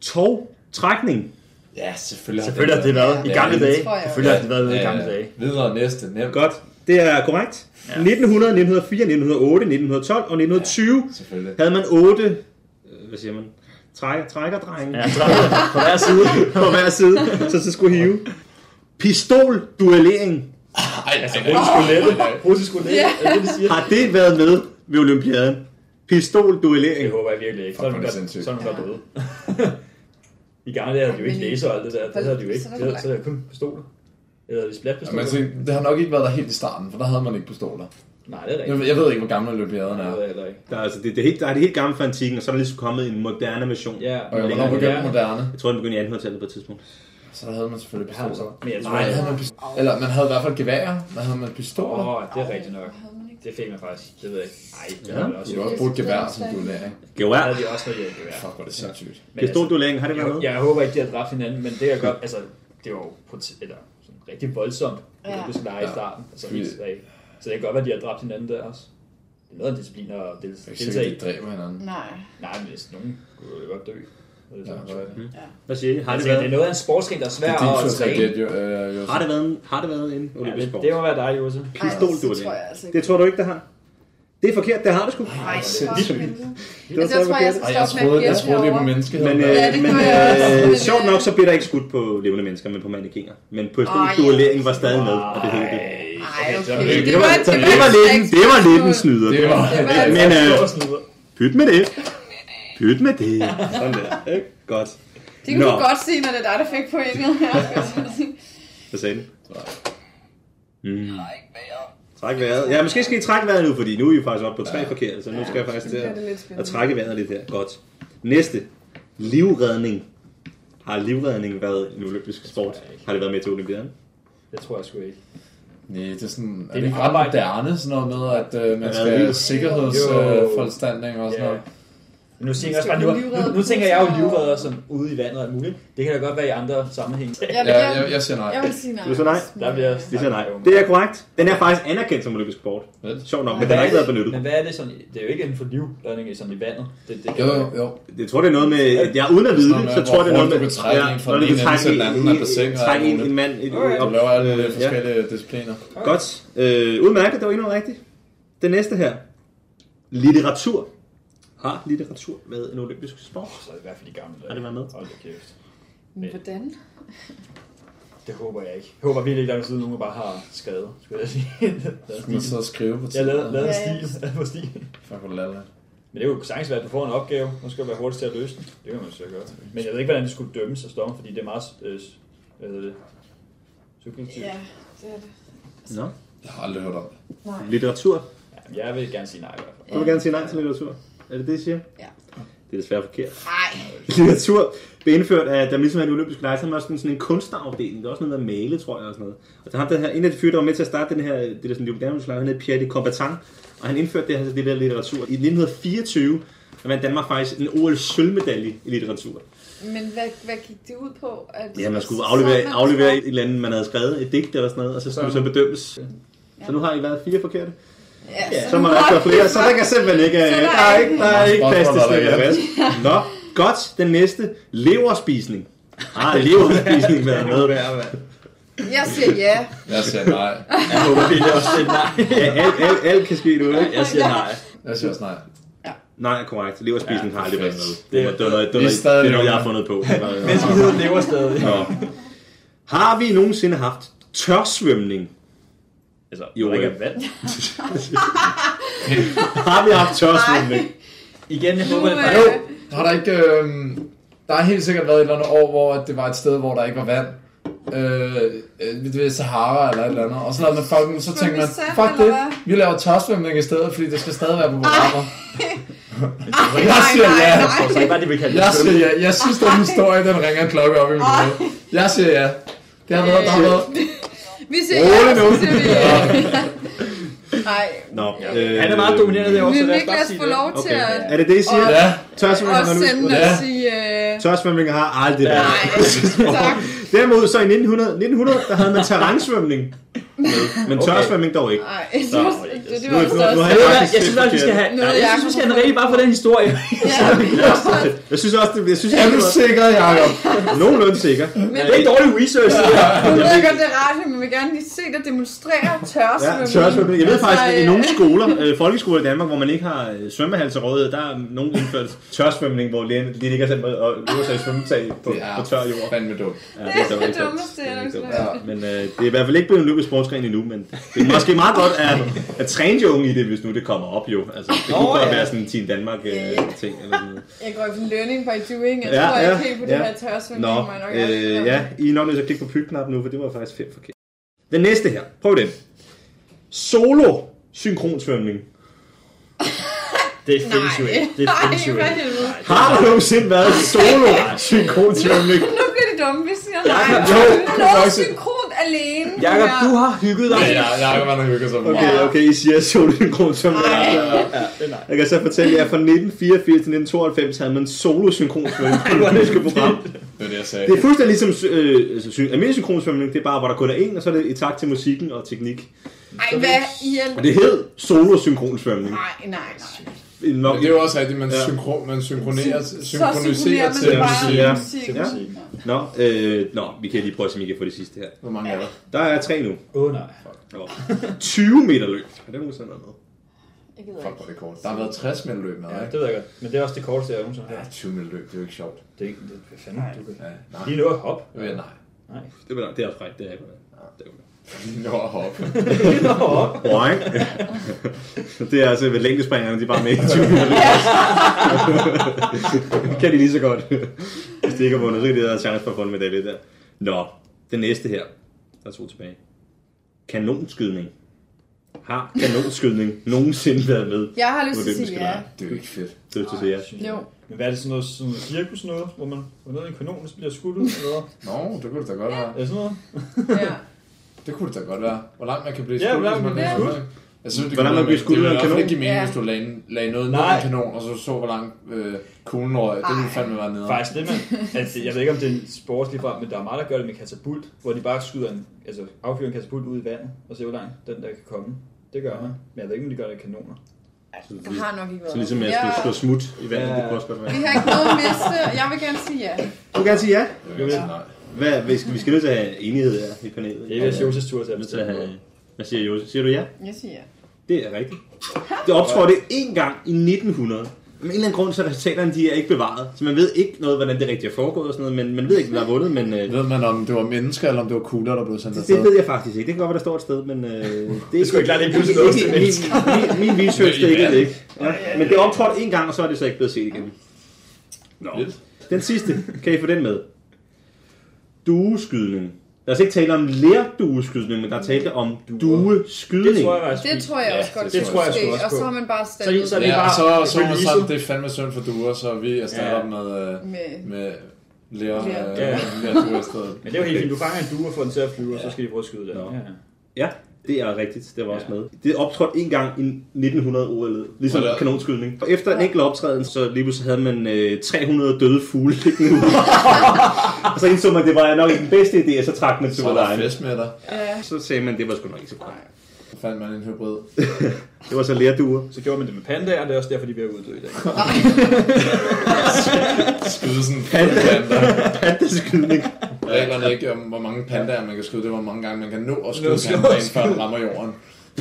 [SPEAKER 2] Tov, trækning.
[SPEAKER 1] Ja, selvfølgelig.
[SPEAKER 3] Selvfølgelig har det været i
[SPEAKER 1] Ja,
[SPEAKER 3] gamle
[SPEAKER 1] det
[SPEAKER 3] dage.
[SPEAKER 4] tror jeg
[SPEAKER 3] Selvfølgelig har det været i gamle dage.
[SPEAKER 1] Videre næste, nemt.
[SPEAKER 2] Godt, det er korrekt.
[SPEAKER 3] Ja.
[SPEAKER 2] 1900, 1904, 1908, 1912 og 1920
[SPEAKER 1] Selvfølgelig.
[SPEAKER 2] havde man otte, øh, hvad siger man, trækker, trækkerdrenge
[SPEAKER 3] Ja, så på hver side.
[SPEAKER 2] på hver side, så så skulle hive. Pistolduellering.
[SPEAKER 1] Ej, altså, russisk roulette.
[SPEAKER 3] Russisk roulette,
[SPEAKER 4] Ja.
[SPEAKER 3] er det det, de siger?
[SPEAKER 2] Har det været med ved Olympiaden?
[SPEAKER 3] Det
[SPEAKER 2] Pistolduellering.
[SPEAKER 3] håber jeg virkelig ikke.
[SPEAKER 1] Fuck,
[SPEAKER 3] Sådan
[SPEAKER 1] hvor er
[SPEAKER 3] var
[SPEAKER 1] det
[SPEAKER 3] sådan
[SPEAKER 1] sindssygt.
[SPEAKER 3] var der døde. I gamle dage havde de jo ikke
[SPEAKER 4] Men-
[SPEAKER 3] laser og alt det der. Det havde de jo ikke.
[SPEAKER 4] Så
[SPEAKER 3] Så
[SPEAKER 4] er der
[SPEAKER 3] havde så
[SPEAKER 4] langt.
[SPEAKER 3] havde de kun pistoler. Eller havde de
[SPEAKER 1] Ja, men
[SPEAKER 3] splatpistoler?
[SPEAKER 1] altså, det har nok ikke været der helt i starten, for der havde man ikke pistoler.
[SPEAKER 3] Nej, det er
[SPEAKER 1] Jeg,
[SPEAKER 3] rigtigt.
[SPEAKER 1] jeg ved ikke, hvor gammel olympiaden
[SPEAKER 3] Nej,
[SPEAKER 1] er.
[SPEAKER 3] det er heller ikke.
[SPEAKER 2] Der er, altså, det, det, er helt, der er det helt gamle fra antikken, og så er der ligesom kommet en moderne version.
[SPEAKER 3] Ja,
[SPEAKER 1] Og jeg
[SPEAKER 3] længere
[SPEAKER 1] var begyndt
[SPEAKER 3] end-
[SPEAKER 1] moderne,
[SPEAKER 2] Jeg tror, den begyndte i 1800-tallet på et tidspunkt.
[SPEAKER 1] så der havde man selvfølgelig
[SPEAKER 3] Ja,
[SPEAKER 1] pistoler.
[SPEAKER 3] Men jeg tror
[SPEAKER 1] Nej,
[SPEAKER 3] ikke.
[SPEAKER 1] havde man pistoler. Eller man havde i hvert fald geværer, men havde man pistoler.
[SPEAKER 3] Åh, det er rigtigt nok. Det fik man faktisk. Det ved jeg ikke. Nej, det havde man
[SPEAKER 1] Du
[SPEAKER 3] også.
[SPEAKER 1] kunne også bruge et gevær som duellering.
[SPEAKER 2] Jo,
[SPEAKER 3] Der
[SPEAKER 2] ja.
[SPEAKER 3] havde de også noget hjælp i hvert
[SPEAKER 1] Fuck, hvor er det sindssygt.
[SPEAKER 2] Pistolduellering, har det været med?
[SPEAKER 3] Jeg, jeg håber ikke, de har dræbt hinanden, men det jeg godt, altså, det var jo på t- eller, sådan rigtig voldsomt,
[SPEAKER 4] Ja.
[SPEAKER 3] ja. det skulle være i
[SPEAKER 1] Ja.
[SPEAKER 3] starten. Altså,
[SPEAKER 1] Fordi-
[SPEAKER 3] helt tilbage. Så det kan godt være, de har dræbt hinanden der også. Det er noget af en disciplin at del-
[SPEAKER 1] Det er ikke
[SPEAKER 3] deltage
[SPEAKER 1] sikkert,
[SPEAKER 3] i.
[SPEAKER 1] at de dræber hinanden.
[SPEAKER 4] Nej.
[SPEAKER 3] Nej, men hvis nogen kunne jo godt dø. Det er
[SPEAKER 1] Ja,
[SPEAKER 3] sådan,
[SPEAKER 1] så-
[SPEAKER 3] noget.
[SPEAKER 2] Hvad siger I? Har
[SPEAKER 3] Jeg
[SPEAKER 2] det
[SPEAKER 3] tænker, det er
[SPEAKER 2] været,
[SPEAKER 3] noget af en sportsgren, der er
[SPEAKER 1] Det
[SPEAKER 3] svær
[SPEAKER 1] er din tur
[SPEAKER 3] at
[SPEAKER 1] til at
[SPEAKER 3] træne.
[SPEAKER 1] gætte, jo, øh, Josef.
[SPEAKER 2] har det været en, har det været en
[SPEAKER 3] Ja,
[SPEAKER 2] olympisk
[SPEAKER 3] det,
[SPEAKER 2] sport?
[SPEAKER 3] det må være dig, Jose.
[SPEAKER 4] Ej, så tror jeg
[SPEAKER 2] Pistolduellering.
[SPEAKER 4] altså ikke.
[SPEAKER 2] Det tror du ikke, det har? Det er forkert, det har det sgu.
[SPEAKER 4] Nej,
[SPEAKER 3] det
[SPEAKER 4] for helvede. Altså,
[SPEAKER 2] så
[SPEAKER 4] jeg tror, jeg
[SPEAKER 2] forkert.
[SPEAKER 1] Ej,
[SPEAKER 4] skal
[SPEAKER 1] jeg
[SPEAKER 4] stoppe med at
[SPEAKER 1] troede, jeg troede,
[SPEAKER 4] gætte
[SPEAKER 1] det var på
[SPEAKER 4] herovre.
[SPEAKER 1] menneskeheden.
[SPEAKER 2] Men, øh,
[SPEAKER 1] der.
[SPEAKER 4] Ja, det
[SPEAKER 2] men
[SPEAKER 4] kunne jeg også.
[SPEAKER 2] øh,
[SPEAKER 4] Men,
[SPEAKER 2] sjovt
[SPEAKER 4] øh,
[SPEAKER 2] nok, så blev der ikke skudt på levende mennesker, men på mannequiner. Men pistolduellering var stadig med, og det hed det.
[SPEAKER 4] Ej, okay.
[SPEAKER 3] det-
[SPEAKER 4] Det var, det
[SPEAKER 2] Det var lidt, en- det var lidt en snyder.
[SPEAKER 1] Det var...
[SPEAKER 2] Men øh,
[SPEAKER 3] snyder.
[SPEAKER 2] pyt med det. Pyt med det. Sådan der. ikke? Godt.
[SPEAKER 4] Det kunne du
[SPEAKER 2] Nå.
[SPEAKER 4] godt se, når det er dig, der fik pointet her.
[SPEAKER 2] Hvad sagde den? Mm. Træk vejret. Ja, måske skal I trække vejret nu, fordi nu er I faktisk oppe på tre forkerte, så nu skal jeg faktisk til
[SPEAKER 4] Det er
[SPEAKER 2] at,
[SPEAKER 4] det lidt
[SPEAKER 2] at
[SPEAKER 4] spændende.
[SPEAKER 2] trække vejret lidt her. Godt. Næste. Livredning. Har livredning været en olympisk sport? Har det været med til olympiaden?
[SPEAKER 3] Det tror jeg sgu ikke.
[SPEAKER 1] Nej, det er sådan... Er
[SPEAKER 3] er
[SPEAKER 1] det ikke
[SPEAKER 3] mit
[SPEAKER 1] ret
[SPEAKER 3] arbejde.
[SPEAKER 1] moderne, sådan noget med, at øh, man
[SPEAKER 2] Ja,
[SPEAKER 1] skal
[SPEAKER 2] det er-
[SPEAKER 1] have sikkerhedsforanstaltninger og sådan
[SPEAKER 3] Ja.
[SPEAKER 1] noget?
[SPEAKER 3] Men Nu tænker, jeg også bare, nu, nu, nu tænker jeg jo livredder som ude i vandet og alt muligt. Det kan da godt være i andre sammenhænge.
[SPEAKER 4] Jeg vil,
[SPEAKER 1] Ja,
[SPEAKER 4] gerne-
[SPEAKER 1] jeg, jeg siger nej.
[SPEAKER 4] jeg vil sige nej.
[SPEAKER 2] Vil du sige nej?
[SPEAKER 3] Der bliver jeg
[SPEAKER 2] Det siger nej. Det er korrekt. Den er faktisk anerkendt som olympisk sport.
[SPEAKER 1] Vel?
[SPEAKER 2] Sjovt nok, men
[SPEAKER 3] Men
[SPEAKER 2] den har
[SPEAKER 3] hvad,
[SPEAKER 2] ikke været
[SPEAKER 3] er det, men
[SPEAKER 2] benyttet.
[SPEAKER 3] hvad er det sådan? Det er jo ikke inden for livredning i- sådan i vandet. Det, det
[SPEAKER 1] Jo,
[SPEAKER 3] kan-
[SPEAKER 1] jo, jo.
[SPEAKER 2] Jeg tror, det er noget med, at jeg uden at vide det, så tror jeg, det er noget med...
[SPEAKER 1] Hvor du kan trække en fra
[SPEAKER 2] når
[SPEAKER 1] den
[SPEAKER 2] du kan
[SPEAKER 1] ene ende til den
[SPEAKER 2] trække
[SPEAKER 1] anden af bassinet og alt
[SPEAKER 2] trække en, en
[SPEAKER 1] muligt.
[SPEAKER 2] mand i-
[SPEAKER 3] Okay.
[SPEAKER 1] Du
[SPEAKER 2] op.
[SPEAKER 1] laver
[SPEAKER 3] Øh,
[SPEAKER 1] alle mulige
[SPEAKER 2] Ja.
[SPEAKER 1] forskellige discipliner.
[SPEAKER 2] Godt. Øh, udmærket, det var endnu rigtigt. Den næste her. Litteratur. Har litteratur været en olympisk sport?
[SPEAKER 3] Så er det i hvert fald i gamle dage.
[SPEAKER 2] Har det været med?
[SPEAKER 3] Hold da kæft.
[SPEAKER 4] Hvordan?
[SPEAKER 3] Det håber jeg ikke. Jeg håber virkelig ikke, der er siden nogen, der bare har skader, skulle jeg sige. Der er
[SPEAKER 1] Skulle man
[SPEAKER 3] stil.
[SPEAKER 1] sidde og skrive på
[SPEAKER 3] Jeg lavede, lavede
[SPEAKER 4] Ja, ja.
[SPEAKER 3] en stil på stil.
[SPEAKER 1] Fuck, hvor lalla.
[SPEAKER 3] Men det er jo sagtens være, at du får en opgave, og så skal du være hurtigst til at løse den. Det kan man så gøre. Men jeg ved ikke, hvordan det skulle dømmes af Storm, fordi det er meget... Øh, hvad hedder det? Subjektivt.
[SPEAKER 4] Ja, det er det.
[SPEAKER 2] Nå.
[SPEAKER 1] Jeg har aldrig hørt om det.
[SPEAKER 4] Nej.
[SPEAKER 2] Litteratur.
[SPEAKER 3] Ja, jeg vil gerne sige nej i hvert fald.
[SPEAKER 2] Du vil gerne sige nej til litteratur. Er det det, I siger?
[SPEAKER 4] Ja.
[SPEAKER 2] Det er desværre forkert.
[SPEAKER 4] Nej.
[SPEAKER 2] litteratur blev indført af, da man ligesom havde de olympiske lege, så havde man også sådan, sådan en kunstnerafdeling. Der var også noget med at male, tror jeg, og sådan noget. Og der har den her, en af de fyre, der var med til at starte den her, det der sådan, de olympiske lege, han hed Pierre de Combatant, og han indførte det her, det der litteratur. I 1924, der vandt Danmark faktisk en OL-sølvmedalje i litteratur.
[SPEAKER 4] Men hvad, hvad gik det ud på? At
[SPEAKER 2] Ja, man skulle
[SPEAKER 4] så
[SPEAKER 2] aflevere,
[SPEAKER 4] man-
[SPEAKER 2] aflevere et eller andet, man havde skrevet, et digt eller sådan noget, og så skulle det så
[SPEAKER 3] Sådan.
[SPEAKER 2] bedømmes.
[SPEAKER 4] Ja.
[SPEAKER 2] Så nu har I været fire forkerte.
[SPEAKER 4] Ja,
[SPEAKER 2] Så må der ikke være flere, så der kan simpelthen ikke, øh,
[SPEAKER 4] Så der er
[SPEAKER 2] der er ikke, der er ikke plads til
[SPEAKER 1] Spørgsmålet er
[SPEAKER 2] slik og vask. Nå, godt, den næste, leverspisning. Ah, leverspisning været med.
[SPEAKER 4] Jeg siger ja.
[SPEAKER 1] Jeg siger nej.
[SPEAKER 3] Jeg håber virkelig også sige nej.
[SPEAKER 2] Ja, alt, alt, alt kan ske nu, ikke?
[SPEAKER 3] Jeg siger nej.
[SPEAKER 1] Jeg siger også nej.
[SPEAKER 2] Nej, korrekt, leverspisning har aldrig været med.
[SPEAKER 3] Det-
[SPEAKER 2] Det, det, det, det,
[SPEAKER 1] Vi er
[SPEAKER 2] det,
[SPEAKER 1] stadig
[SPEAKER 2] det er noget, jeg har
[SPEAKER 1] unge.
[SPEAKER 2] fundet på. Det var-
[SPEAKER 3] Menneskeheden lever stadig.
[SPEAKER 2] Nå. Har vi nogensinde haft tørsvømning?
[SPEAKER 3] Altså,
[SPEAKER 2] Jo,
[SPEAKER 3] jo, ikke
[SPEAKER 2] ja.
[SPEAKER 3] er vand.
[SPEAKER 2] Har vi haft tørsvømning?
[SPEAKER 3] Igen, jeg håber,
[SPEAKER 4] Nu,
[SPEAKER 3] det er
[SPEAKER 4] øh,
[SPEAKER 1] Jo, har der ikke... Øh, der har helt sikkert været et eller andet år, hvor at det var et sted, hvor der ikke var vand. Øh, øh, det ved Sahara eller et eller andet. Og så lavede man fucking, så tænkte man,
[SPEAKER 4] Svømme i sand,
[SPEAKER 1] fuck det,
[SPEAKER 4] eller hvad?
[SPEAKER 1] vi laver tørsvømning i stedet, fordi det skal stadig være på programmer.
[SPEAKER 4] Ej,
[SPEAKER 1] Jeg siger ja.
[SPEAKER 3] Så er det bare det, vi kalder
[SPEAKER 1] Jeg
[SPEAKER 3] det.
[SPEAKER 1] siger ja. Jeg synes, den historie, den ringer en klokke op i mit hoved. Jeg siger ja. Det har været, der har været.
[SPEAKER 4] Vi siger
[SPEAKER 2] Rolig
[SPEAKER 4] ja,
[SPEAKER 2] nu.
[SPEAKER 4] så siger vi ja. Nej,
[SPEAKER 2] Nå, øh,
[SPEAKER 3] Ja. Han er meget dominerende derovre,
[SPEAKER 4] vi
[SPEAKER 3] så
[SPEAKER 4] vil
[SPEAKER 3] lad os
[SPEAKER 4] ikke lade
[SPEAKER 3] bare
[SPEAKER 4] os
[SPEAKER 3] sige
[SPEAKER 4] få lov
[SPEAKER 3] det.
[SPEAKER 4] til at
[SPEAKER 2] Okay. Er det det, I siger?
[SPEAKER 1] Ja.
[SPEAKER 2] Tørsvømning
[SPEAKER 4] at
[SPEAKER 2] har nu-
[SPEAKER 4] sende og
[SPEAKER 1] Ja.
[SPEAKER 4] sige... øh,
[SPEAKER 2] Tørsvømning har aldrig været.
[SPEAKER 4] Nej, tak.
[SPEAKER 2] Derimod så i 1900, 1900 der havde man terrænsvømning. med, Men
[SPEAKER 3] Okay.
[SPEAKER 2] tørsvømning dog ikke.
[SPEAKER 4] Nej,
[SPEAKER 3] Nå,
[SPEAKER 4] det, det, det var
[SPEAKER 2] nu-
[SPEAKER 4] også
[SPEAKER 2] nu- nu-
[SPEAKER 4] også.
[SPEAKER 2] Jeg
[SPEAKER 3] Jeg,
[SPEAKER 2] ved
[SPEAKER 3] ved,
[SPEAKER 2] hvad,
[SPEAKER 3] jeg, jeg synes faktisk, vi skal have,
[SPEAKER 4] Noget,
[SPEAKER 3] nej, jeg
[SPEAKER 4] Jakob
[SPEAKER 3] synes, vi skal have en
[SPEAKER 4] har
[SPEAKER 3] rigtig bare for den historie.
[SPEAKER 4] Ja,
[SPEAKER 2] Jeg synes også, det, jeg synes,
[SPEAKER 1] Er du
[SPEAKER 2] jeg
[SPEAKER 1] sikker, Jacob?
[SPEAKER 2] er nogenlunde sikker.
[SPEAKER 3] Det er ikke dårlig research, det der.
[SPEAKER 4] hun ved godt, det er rart, men vi vil gerne lige se dig demonstrere
[SPEAKER 2] Ja,
[SPEAKER 4] tørsvømning.
[SPEAKER 2] tørsvømning. Jeg ved
[SPEAKER 4] Altså,
[SPEAKER 2] faktisk, at i
[SPEAKER 4] øh,
[SPEAKER 2] nogle skoler, øh, folkeskoler i Danmark, hvor man ikke har øh, svømmehal til rådighed, der er nogen indført tørsvømning, hvor lærerne lige ligger selv med og løber sig i svømmetag på,
[SPEAKER 1] Det er
[SPEAKER 2] på tør jord.
[SPEAKER 1] fandme dumt.
[SPEAKER 2] Ja,
[SPEAKER 4] det er
[SPEAKER 2] dog
[SPEAKER 4] det
[SPEAKER 2] ikke dumt.
[SPEAKER 4] dummeste,
[SPEAKER 2] Det er
[SPEAKER 4] jeg
[SPEAKER 2] ikke dumt.
[SPEAKER 4] nogensinde
[SPEAKER 1] har
[SPEAKER 2] Men øh, det er i hvert fald ikke blevet en olympisk sportsgren endnu, men det er måske meget godt at, at træne de unge i det, hvis nu det kommer op jo. Altså, det kunne
[SPEAKER 3] Nå,
[SPEAKER 2] godt
[SPEAKER 3] ja.
[SPEAKER 2] være sådan en Team Danmark-ting eller sådan noget.
[SPEAKER 4] Jeg går i learning by doing. Jeg
[SPEAKER 2] Ja,
[SPEAKER 4] tror
[SPEAKER 2] ja,
[SPEAKER 4] ikke helt på
[SPEAKER 2] ja.
[SPEAKER 4] det her tørsvømning.
[SPEAKER 2] Nå,
[SPEAKER 4] må jeg nok
[SPEAKER 2] øh,
[SPEAKER 4] erkende.
[SPEAKER 2] ja, I er nok nødt til at klikke på pytknappen nu, for det var faktisk fem forkert. Den næste her, prøv den. Solo synkronsvømning.
[SPEAKER 3] Det findes jo ikke. Det
[SPEAKER 4] Nej,
[SPEAKER 3] findes jo
[SPEAKER 4] hvad
[SPEAKER 3] ikke.
[SPEAKER 4] helvede.
[SPEAKER 2] Har der nogensinde været solo synkronsvømning?
[SPEAKER 4] Nu bliver det dumme, hvis jeg nej.
[SPEAKER 3] Jakob,
[SPEAKER 4] Jo, noget
[SPEAKER 1] faktisk-
[SPEAKER 4] synkront alene.
[SPEAKER 3] Jakob,
[SPEAKER 4] Ja.
[SPEAKER 3] du har hygget dig.
[SPEAKER 1] Ja, jeg- Jacob, han har hygget sig meget.
[SPEAKER 2] Okay, okay, I siger solo synkronsvømning.
[SPEAKER 4] Ej.
[SPEAKER 3] Ja, det er nej.
[SPEAKER 2] Jeg kan så fortælle jer, at fra 1984 til 1992 havde man solo synkronsvømning på det olympiske program.
[SPEAKER 1] Det er det, jeg sagde.
[SPEAKER 2] Det er fuldstændig ligesom øh, altså, syn- almindelig synkronsvømning, det er bare, hvor der kun er en, og så er det i takt til musikken og teknik.
[SPEAKER 4] Ej, hvad i al...
[SPEAKER 2] Og det hed solo synkronsvømning.
[SPEAKER 4] Nej, nej, nej.
[SPEAKER 1] Men det er jo også rigtigt, man, synkro, man synkroniserer, synkroniserer
[SPEAKER 4] man
[SPEAKER 1] til
[SPEAKER 4] det bare.
[SPEAKER 1] musik.
[SPEAKER 2] Ja.
[SPEAKER 4] musik.
[SPEAKER 3] Det
[SPEAKER 2] Ja.
[SPEAKER 3] må sige.
[SPEAKER 2] Nå, øh, nå, vi kan lige prøve at se, om I kan få det sidste her.
[SPEAKER 1] Hvor mange er der?
[SPEAKER 2] Der er tre nu.
[SPEAKER 3] Åh oh, nej.
[SPEAKER 2] 20 meter løb. Er det nogensinde noget?
[SPEAKER 4] Jeg gider
[SPEAKER 1] Fuck,
[SPEAKER 4] ikke.
[SPEAKER 1] hvor er det kort. Der har været 60 meter løb med,
[SPEAKER 3] Ja,
[SPEAKER 1] ikke?
[SPEAKER 3] det ved jeg godt. Men det er også det korteste, jeg nogensinde har.
[SPEAKER 1] Ja, 20 meter løb, det er jo ikke sjovt.
[SPEAKER 3] Det er ikke... Det, hvad fanden, du kan...
[SPEAKER 1] Ja, nej.
[SPEAKER 3] Lige nu at hoppe.
[SPEAKER 1] Ja, nej.
[SPEAKER 3] Nej.
[SPEAKER 2] Det er, det er frækt, det er ikke.
[SPEAKER 1] Lige nu at hoppe.
[SPEAKER 3] Lige nu at hoppe.
[SPEAKER 2] Right. det er altså ved længdespringerne, de er bare med i 20 meter løb. kan de lige så godt. Hvis de ikke har vundet, så kan de have chance for at få en medalje der. Nå, det næste her. Der er to tilbage. Kanonskydning. Har kanonskydning nogensinde været med?
[SPEAKER 4] Jeg har lyst
[SPEAKER 2] på
[SPEAKER 4] til at
[SPEAKER 2] det, vi
[SPEAKER 4] sige
[SPEAKER 2] skal
[SPEAKER 4] ja.
[SPEAKER 2] lege?
[SPEAKER 1] Det er jo ikke fedt.
[SPEAKER 2] Det er lyst til at sige ja.
[SPEAKER 4] Jo.
[SPEAKER 3] Men hvad er det sådan noget, sådan noget cirkus noget, hvor man hvor ned i en kanon, og så bliver skudt ud, eller hvad?
[SPEAKER 1] Nå, det kunne det da godt være.
[SPEAKER 3] Er det sådan noget?
[SPEAKER 4] Ja.
[SPEAKER 1] Det kunne det da godt være. Hvor langt man kan blive
[SPEAKER 3] Ja,
[SPEAKER 1] skudt,
[SPEAKER 3] hvor
[SPEAKER 1] hvis
[SPEAKER 3] langt man
[SPEAKER 1] bliver
[SPEAKER 3] bliver
[SPEAKER 1] Jeg synes, det
[SPEAKER 2] Hvor langt man bliver skudt
[SPEAKER 1] det
[SPEAKER 2] med en
[SPEAKER 1] ville i hvert fald
[SPEAKER 2] kanon?
[SPEAKER 1] ikke give mening,
[SPEAKER 4] Ja.
[SPEAKER 1] hvis du lagde, lagde noget ned i
[SPEAKER 3] Nej.
[SPEAKER 1] en kanon, og så så, hvor langt øh, kuglen røg. Det ville
[SPEAKER 4] Ej.
[SPEAKER 1] fandme være nede.
[SPEAKER 3] Faktisk det, man... Altså, jeg ved ikke, om det er en sport lige frem, men der er meget, der gør det med katapult, hvor de bare skyder en, altså, affyrer en katapult ud i vandet, og ser, hvor langt den der kan komme. Det gør man. Men jeg ved ikke, om de gør det med kanoner.
[SPEAKER 4] Jeg har nok ikke været.
[SPEAKER 2] Så ligesom at
[SPEAKER 4] jeg
[SPEAKER 2] jeg skal slå smut i vandet,
[SPEAKER 3] Ja.
[SPEAKER 2] det kunne også godt være.
[SPEAKER 4] Vi har ikke noget at miste. Jeg vil gerne sige ja.
[SPEAKER 2] Du kan gerne sige ja.
[SPEAKER 1] Jeg vil sige nej.
[SPEAKER 2] Hvad, vi, skal, vi skal nødt til at have enighed her i panelet.
[SPEAKER 3] Det er vist Joses Altså, tur til at
[SPEAKER 2] nødt til at
[SPEAKER 3] bestemme. noget.
[SPEAKER 2] have... Hvad siger Jose? Siger du ja?
[SPEAKER 4] Jeg siger ja.
[SPEAKER 2] Det er rigtligt. Det optrådte én gang i 1900. Men en eller anden grund, så er resultaterne de er ikke bevaret. Så man ved ikke noget, hvordan det rigtigt er foregået og sådan noget, men man ved ikke, hvad der er vundet, men øh,
[SPEAKER 1] Ved man, om det var mennesker, eller om det var kugler, der blev sendt
[SPEAKER 2] det,
[SPEAKER 1] afsted?
[SPEAKER 2] det ved jeg faktisk ikke. Det kan godt være, der står et sted, men øh, det, er
[SPEAKER 3] Det skulle ikke klart, det ikke pludselig låse til
[SPEAKER 2] min, min, min, min research
[SPEAKER 1] Ja.
[SPEAKER 2] dækkede det ikke. Ja, men det er optrådt en gang, og så er det så ikke blevet set igen. Nå.
[SPEAKER 3] Vildt.
[SPEAKER 2] Den sidste, kan I få den med? Dueskydning. Lad os ikke tale om lærdueskydning, men der er tale om dueskydning.
[SPEAKER 3] Det tror jeg faktisk.
[SPEAKER 4] Det tror jeg
[SPEAKER 1] Ja,
[SPEAKER 4] også godt,
[SPEAKER 1] det
[SPEAKER 3] tror jeg
[SPEAKER 4] kunne
[SPEAKER 3] sgu
[SPEAKER 4] ske,
[SPEAKER 3] også
[SPEAKER 4] Og så
[SPEAKER 3] på.
[SPEAKER 4] har man bare
[SPEAKER 3] Så-
[SPEAKER 4] standet
[SPEAKER 3] så-
[SPEAKER 4] så,
[SPEAKER 3] det
[SPEAKER 1] Ja,
[SPEAKER 3] er
[SPEAKER 1] og
[SPEAKER 3] bare
[SPEAKER 1] så, så var man
[SPEAKER 3] release
[SPEAKER 1] sådan,
[SPEAKER 3] dem.
[SPEAKER 1] det er fandme synd for duer, så vi erstatter
[SPEAKER 3] Ja.
[SPEAKER 1] dem med, øh,
[SPEAKER 4] med...
[SPEAKER 1] med lærer,
[SPEAKER 4] Ler.
[SPEAKER 1] øh,
[SPEAKER 3] Ja.
[SPEAKER 1] lærer duer i stedet.
[SPEAKER 3] Men det er jo helt fint. Du fanger en due og får den til at flyve, og så skal de prøve at skyde den.
[SPEAKER 2] Nå.
[SPEAKER 3] Ja, ja.
[SPEAKER 2] Ja, det er rigtigt. Det var også
[SPEAKER 3] Ja.
[SPEAKER 2] med. Det er optrådt en gang i 1900 OL, ligesom
[SPEAKER 1] Hold da op.
[SPEAKER 2] kanonskydning. Og efter en enkelt optræden, så lige pludselig havde man øh, 300 døde fugle liggende ude. og så indså man, at det var nok ikke den bedste idé, og så trak man
[SPEAKER 1] Så
[SPEAKER 2] til
[SPEAKER 1] var der
[SPEAKER 2] egen.
[SPEAKER 1] fest med dig.
[SPEAKER 4] Ja.
[SPEAKER 2] Så sagde man, at det var sgu nok ikke så godt.
[SPEAKER 1] Så fandt man en hybrid.
[SPEAKER 2] Det var så lærduer.
[SPEAKER 3] Så gjorde man det med pandaer, og det er også derfor, de er ved at uddø i dag.
[SPEAKER 1] Skyde sådan en panda.
[SPEAKER 2] Pandeskydning.
[SPEAKER 1] Reglerne ikke om, hvor mange pandaer man kan skyde, det var hvor mange gange man kan nå at skyde
[SPEAKER 3] Nå, slå
[SPEAKER 1] pandaen,
[SPEAKER 3] og
[SPEAKER 1] før den rammer jorden.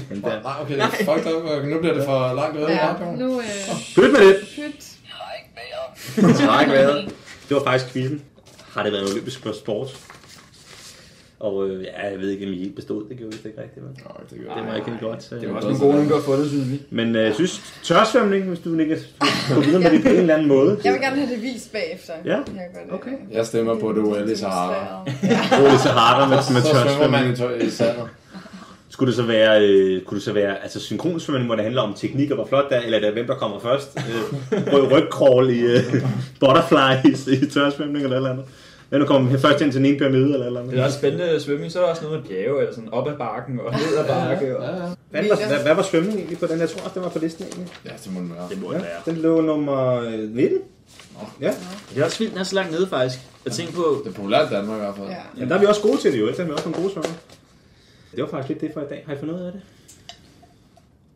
[SPEAKER 2] Panda.
[SPEAKER 1] Nej, okay, fuck dig, nu bliver det for langt ude.
[SPEAKER 4] ja.
[SPEAKER 1] Ja.
[SPEAKER 4] Nu øh,
[SPEAKER 2] Pyt med det.
[SPEAKER 4] pyt.
[SPEAKER 2] Det har ikke været. Det var faktisk quizzen. Har det været en olympisk sport? Og øh, ja, jeg ved ikke, om I helt bestod. Det gjorde vi vist ikke rigtigt. Men.
[SPEAKER 1] Nå, det gør
[SPEAKER 2] Det var
[SPEAKER 1] det.
[SPEAKER 2] ikke en godt. øh,
[SPEAKER 3] Det var også nogle gode nogen, der har fundet, synes vi.
[SPEAKER 2] Men øh, jeg synes, tørsvømning, hvis du ikke går videre med det på en eller anden måde.
[SPEAKER 4] Jeg vil gerne have det vist bagefter.
[SPEAKER 2] Ja.
[SPEAKER 4] Jeg gør det. ligesom
[SPEAKER 2] Okay.
[SPEAKER 1] Jeg stemmer på det OL i Sahara.
[SPEAKER 2] Gå lidt så harder med, med
[SPEAKER 1] Så svømmer man
[SPEAKER 2] tørsvømning.
[SPEAKER 1] i, tø- i sandet.
[SPEAKER 2] Skulle det så være, øh, kunne det så være altså, synkronsvømning, hvor det handler om teknik og hvor flot der, eller er det hvem der kommer først? Øh, rød rygcrawl i øh, butterfly i, i tørsvømning eller et eller andet. Hvem der kommer først ind til den ene pyramide eller et eller andet.
[SPEAKER 3] Det er også spændende svømning, så er der også noget med bjerge, eller sådan op ad bakken og ned ad bakke. Og...
[SPEAKER 2] Hvad, var, hvad, hvad var svømning egentlig på den? Jeg tror også, den var på listen egentlig.
[SPEAKER 1] Ja, det må den være.
[SPEAKER 3] Det må
[SPEAKER 2] Ja,
[SPEAKER 3] det være.
[SPEAKER 2] den lå nummer øh, 19. Ja.
[SPEAKER 3] Det er også vildt, den er så langt nede faktisk. Jeg tænker på,
[SPEAKER 1] Det er populært i Danmark i hvert fald.
[SPEAKER 4] Ja.
[SPEAKER 2] Men der er vi også gode til det jo, ikke? Der er vi også nogle gode svømmer. Det var faktisk lidt det for i dag. Har I fundet ud af det?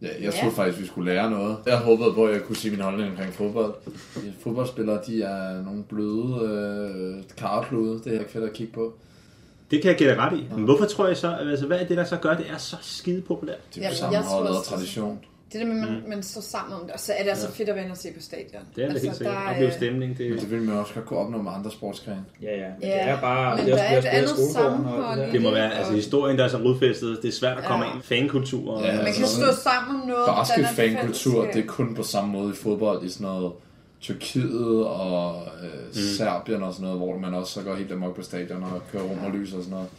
[SPEAKER 1] Ja, jeg troede faktisk, vi skulle lære noget. Jeg håbede på, at jeg kunne sige min holdning omkring fodbold. De Fodboldspillere, de er nogle bløde øh, karplude. Det er ikke fedt at kigge på.
[SPEAKER 2] Det kan jeg give dig ret i. Men hvorfor tror jeg så, altså hvad er det, der så gør, det er så skide populært?
[SPEAKER 1] Det er
[SPEAKER 4] Jamen,
[SPEAKER 1] jo
[SPEAKER 4] jeg
[SPEAKER 1] sammenholdet
[SPEAKER 4] tror
[SPEAKER 1] og
[SPEAKER 4] også-
[SPEAKER 1] tradition.
[SPEAKER 4] Det der med, man,
[SPEAKER 3] Mm.
[SPEAKER 4] man står sammen om det, og så er det altså fedt at være inde og se på stadion.
[SPEAKER 2] Det er altså,
[SPEAKER 4] altså,
[SPEAKER 2] helt sikkert.
[SPEAKER 4] der
[SPEAKER 2] Der
[SPEAKER 4] er-
[SPEAKER 2] bliver stemning. Det,
[SPEAKER 1] Det vil man også godt kunne opnå med andre sportsgrene.
[SPEAKER 3] ja ja, men
[SPEAKER 4] Ja,
[SPEAKER 3] det er bare,
[SPEAKER 4] men
[SPEAKER 3] det er
[SPEAKER 4] der
[SPEAKER 3] også
[SPEAKER 4] er
[SPEAKER 3] det
[SPEAKER 4] et
[SPEAKER 3] er spillet
[SPEAKER 4] andet
[SPEAKER 3] skolegården og det
[SPEAKER 4] sammenhold
[SPEAKER 3] der.
[SPEAKER 2] det må være, altså historien, der er så rodfæstet, det er svært at komme
[SPEAKER 4] Ja.
[SPEAKER 2] ind. Fankultur og...
[SPEAKER 1] Ja,
[SPEAKER 2] Ja,
[SPEAKER 4] Man kan stå sammen om noget.
[SPEAKER 1] Basketfankultur, det er
[SPEAKER 4] kunne...
[SPEAKER 1] kun på samme måde i fodbold i sådan noget Tyrkiet og øh, Serbien og sådan noget, hvor man også så går helt amok på stadion og kører rum og lys og sådan noget.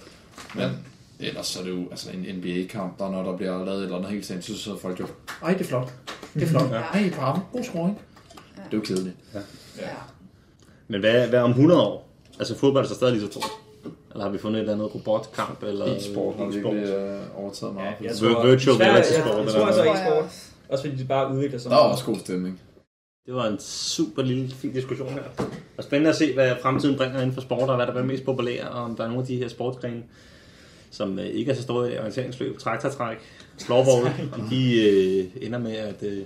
[SPEAKER 1] Men ellers så er det jo altså en NBA-kamp, der når der bliver lavet et eller andet helt sindssygt, så sidder folk jo, ej det er flot, det er flot, ej på ham, god scoring. Det er jo kedeligt.
[SPEAKER 4] Ja.
[SPEAKER 2] Men hvad, hvad om 100 år? Altså fodbold er så stadig lige så stort. Eller har vi fundet et eller andet robotkamp? Eller
[SPEAKER 1] E-sport har
[SPEAKER 2] e-sport?
[SPEAKER 1] virkelig øh, overtaget meget.
[SPEAKER 3] jeg
[SPEAKER 2] Vir- virtual
[SPEAKER 3] Sverige-
[SPEAKER 2] reality
[SPEAKER 3] jeg-
[SPEAKER 2] sport,
[SPEAKER 3] Jeg
[SPEAKER 2] eller
[SPEAKER 3] tror altså
[SPEAKER 2] hvad?
[SPEAKER 3] ikke sport. Også fordi de bare udvikler sig.
[SPEAKER 1] Der er også god stemning.
[SPEAKER 2] Det var en super lille fin diskussion her. Og spændende at se, hvad fremtiden bringer inden for sport, og hvad der bliver mest populære, og om der er nogle af de her sportsgrene, som øh, ikke er så store i orienteringsløb, traktortræk, floorball, om de øh, ender med at øh,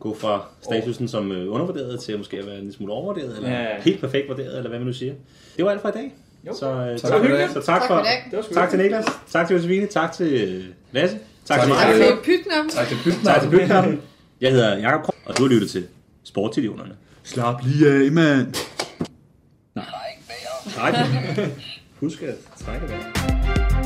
[SPEAKER 2] gå fra statusen som øh, undervurderet til måske at være en lille smule overvurderet, eller
[SPEAKER 3] Ja, ja.
[SPEAKER 2] helt perfekt vurderet, eller hvad man nu siger. Det var alt for i dag.
[SPEAKER 3] Jo.
[SPEAKER 2] Så, øh,
[SPEAKER 1] Tak for i dag.
[SPEAKER 2] så tak,
[SPEAKER 4] Tak
[SPEAKER 2] for,
[SPEAKER 4] for i dag.
[SPEAKER 3] Det var sgu
[SPEAKER 2] tak til
[SPEAKER 3] lidt.
[SPEAKER 2] Niklas, tak til Josefine, tak til øh, Lasse,
[SPEAKER 1] Tak
[SPEAKER 2] tak, til
[SPEAKER 1] til
[SPEAKER 4] Tak
[SPEAKER 2] Mark.
[SPEAKER 4] for pytten om.
[SPEAKER 1] Tak til Pytten.
[SPEAKER 2] Tak til Bygnappen. Jeg hedder Jakob Krog, og du har lyttet til Sportidionerne.
[SPEAKER 5] Slap lige af, mand.
[SPEAKER 2] Husk at trække vejret.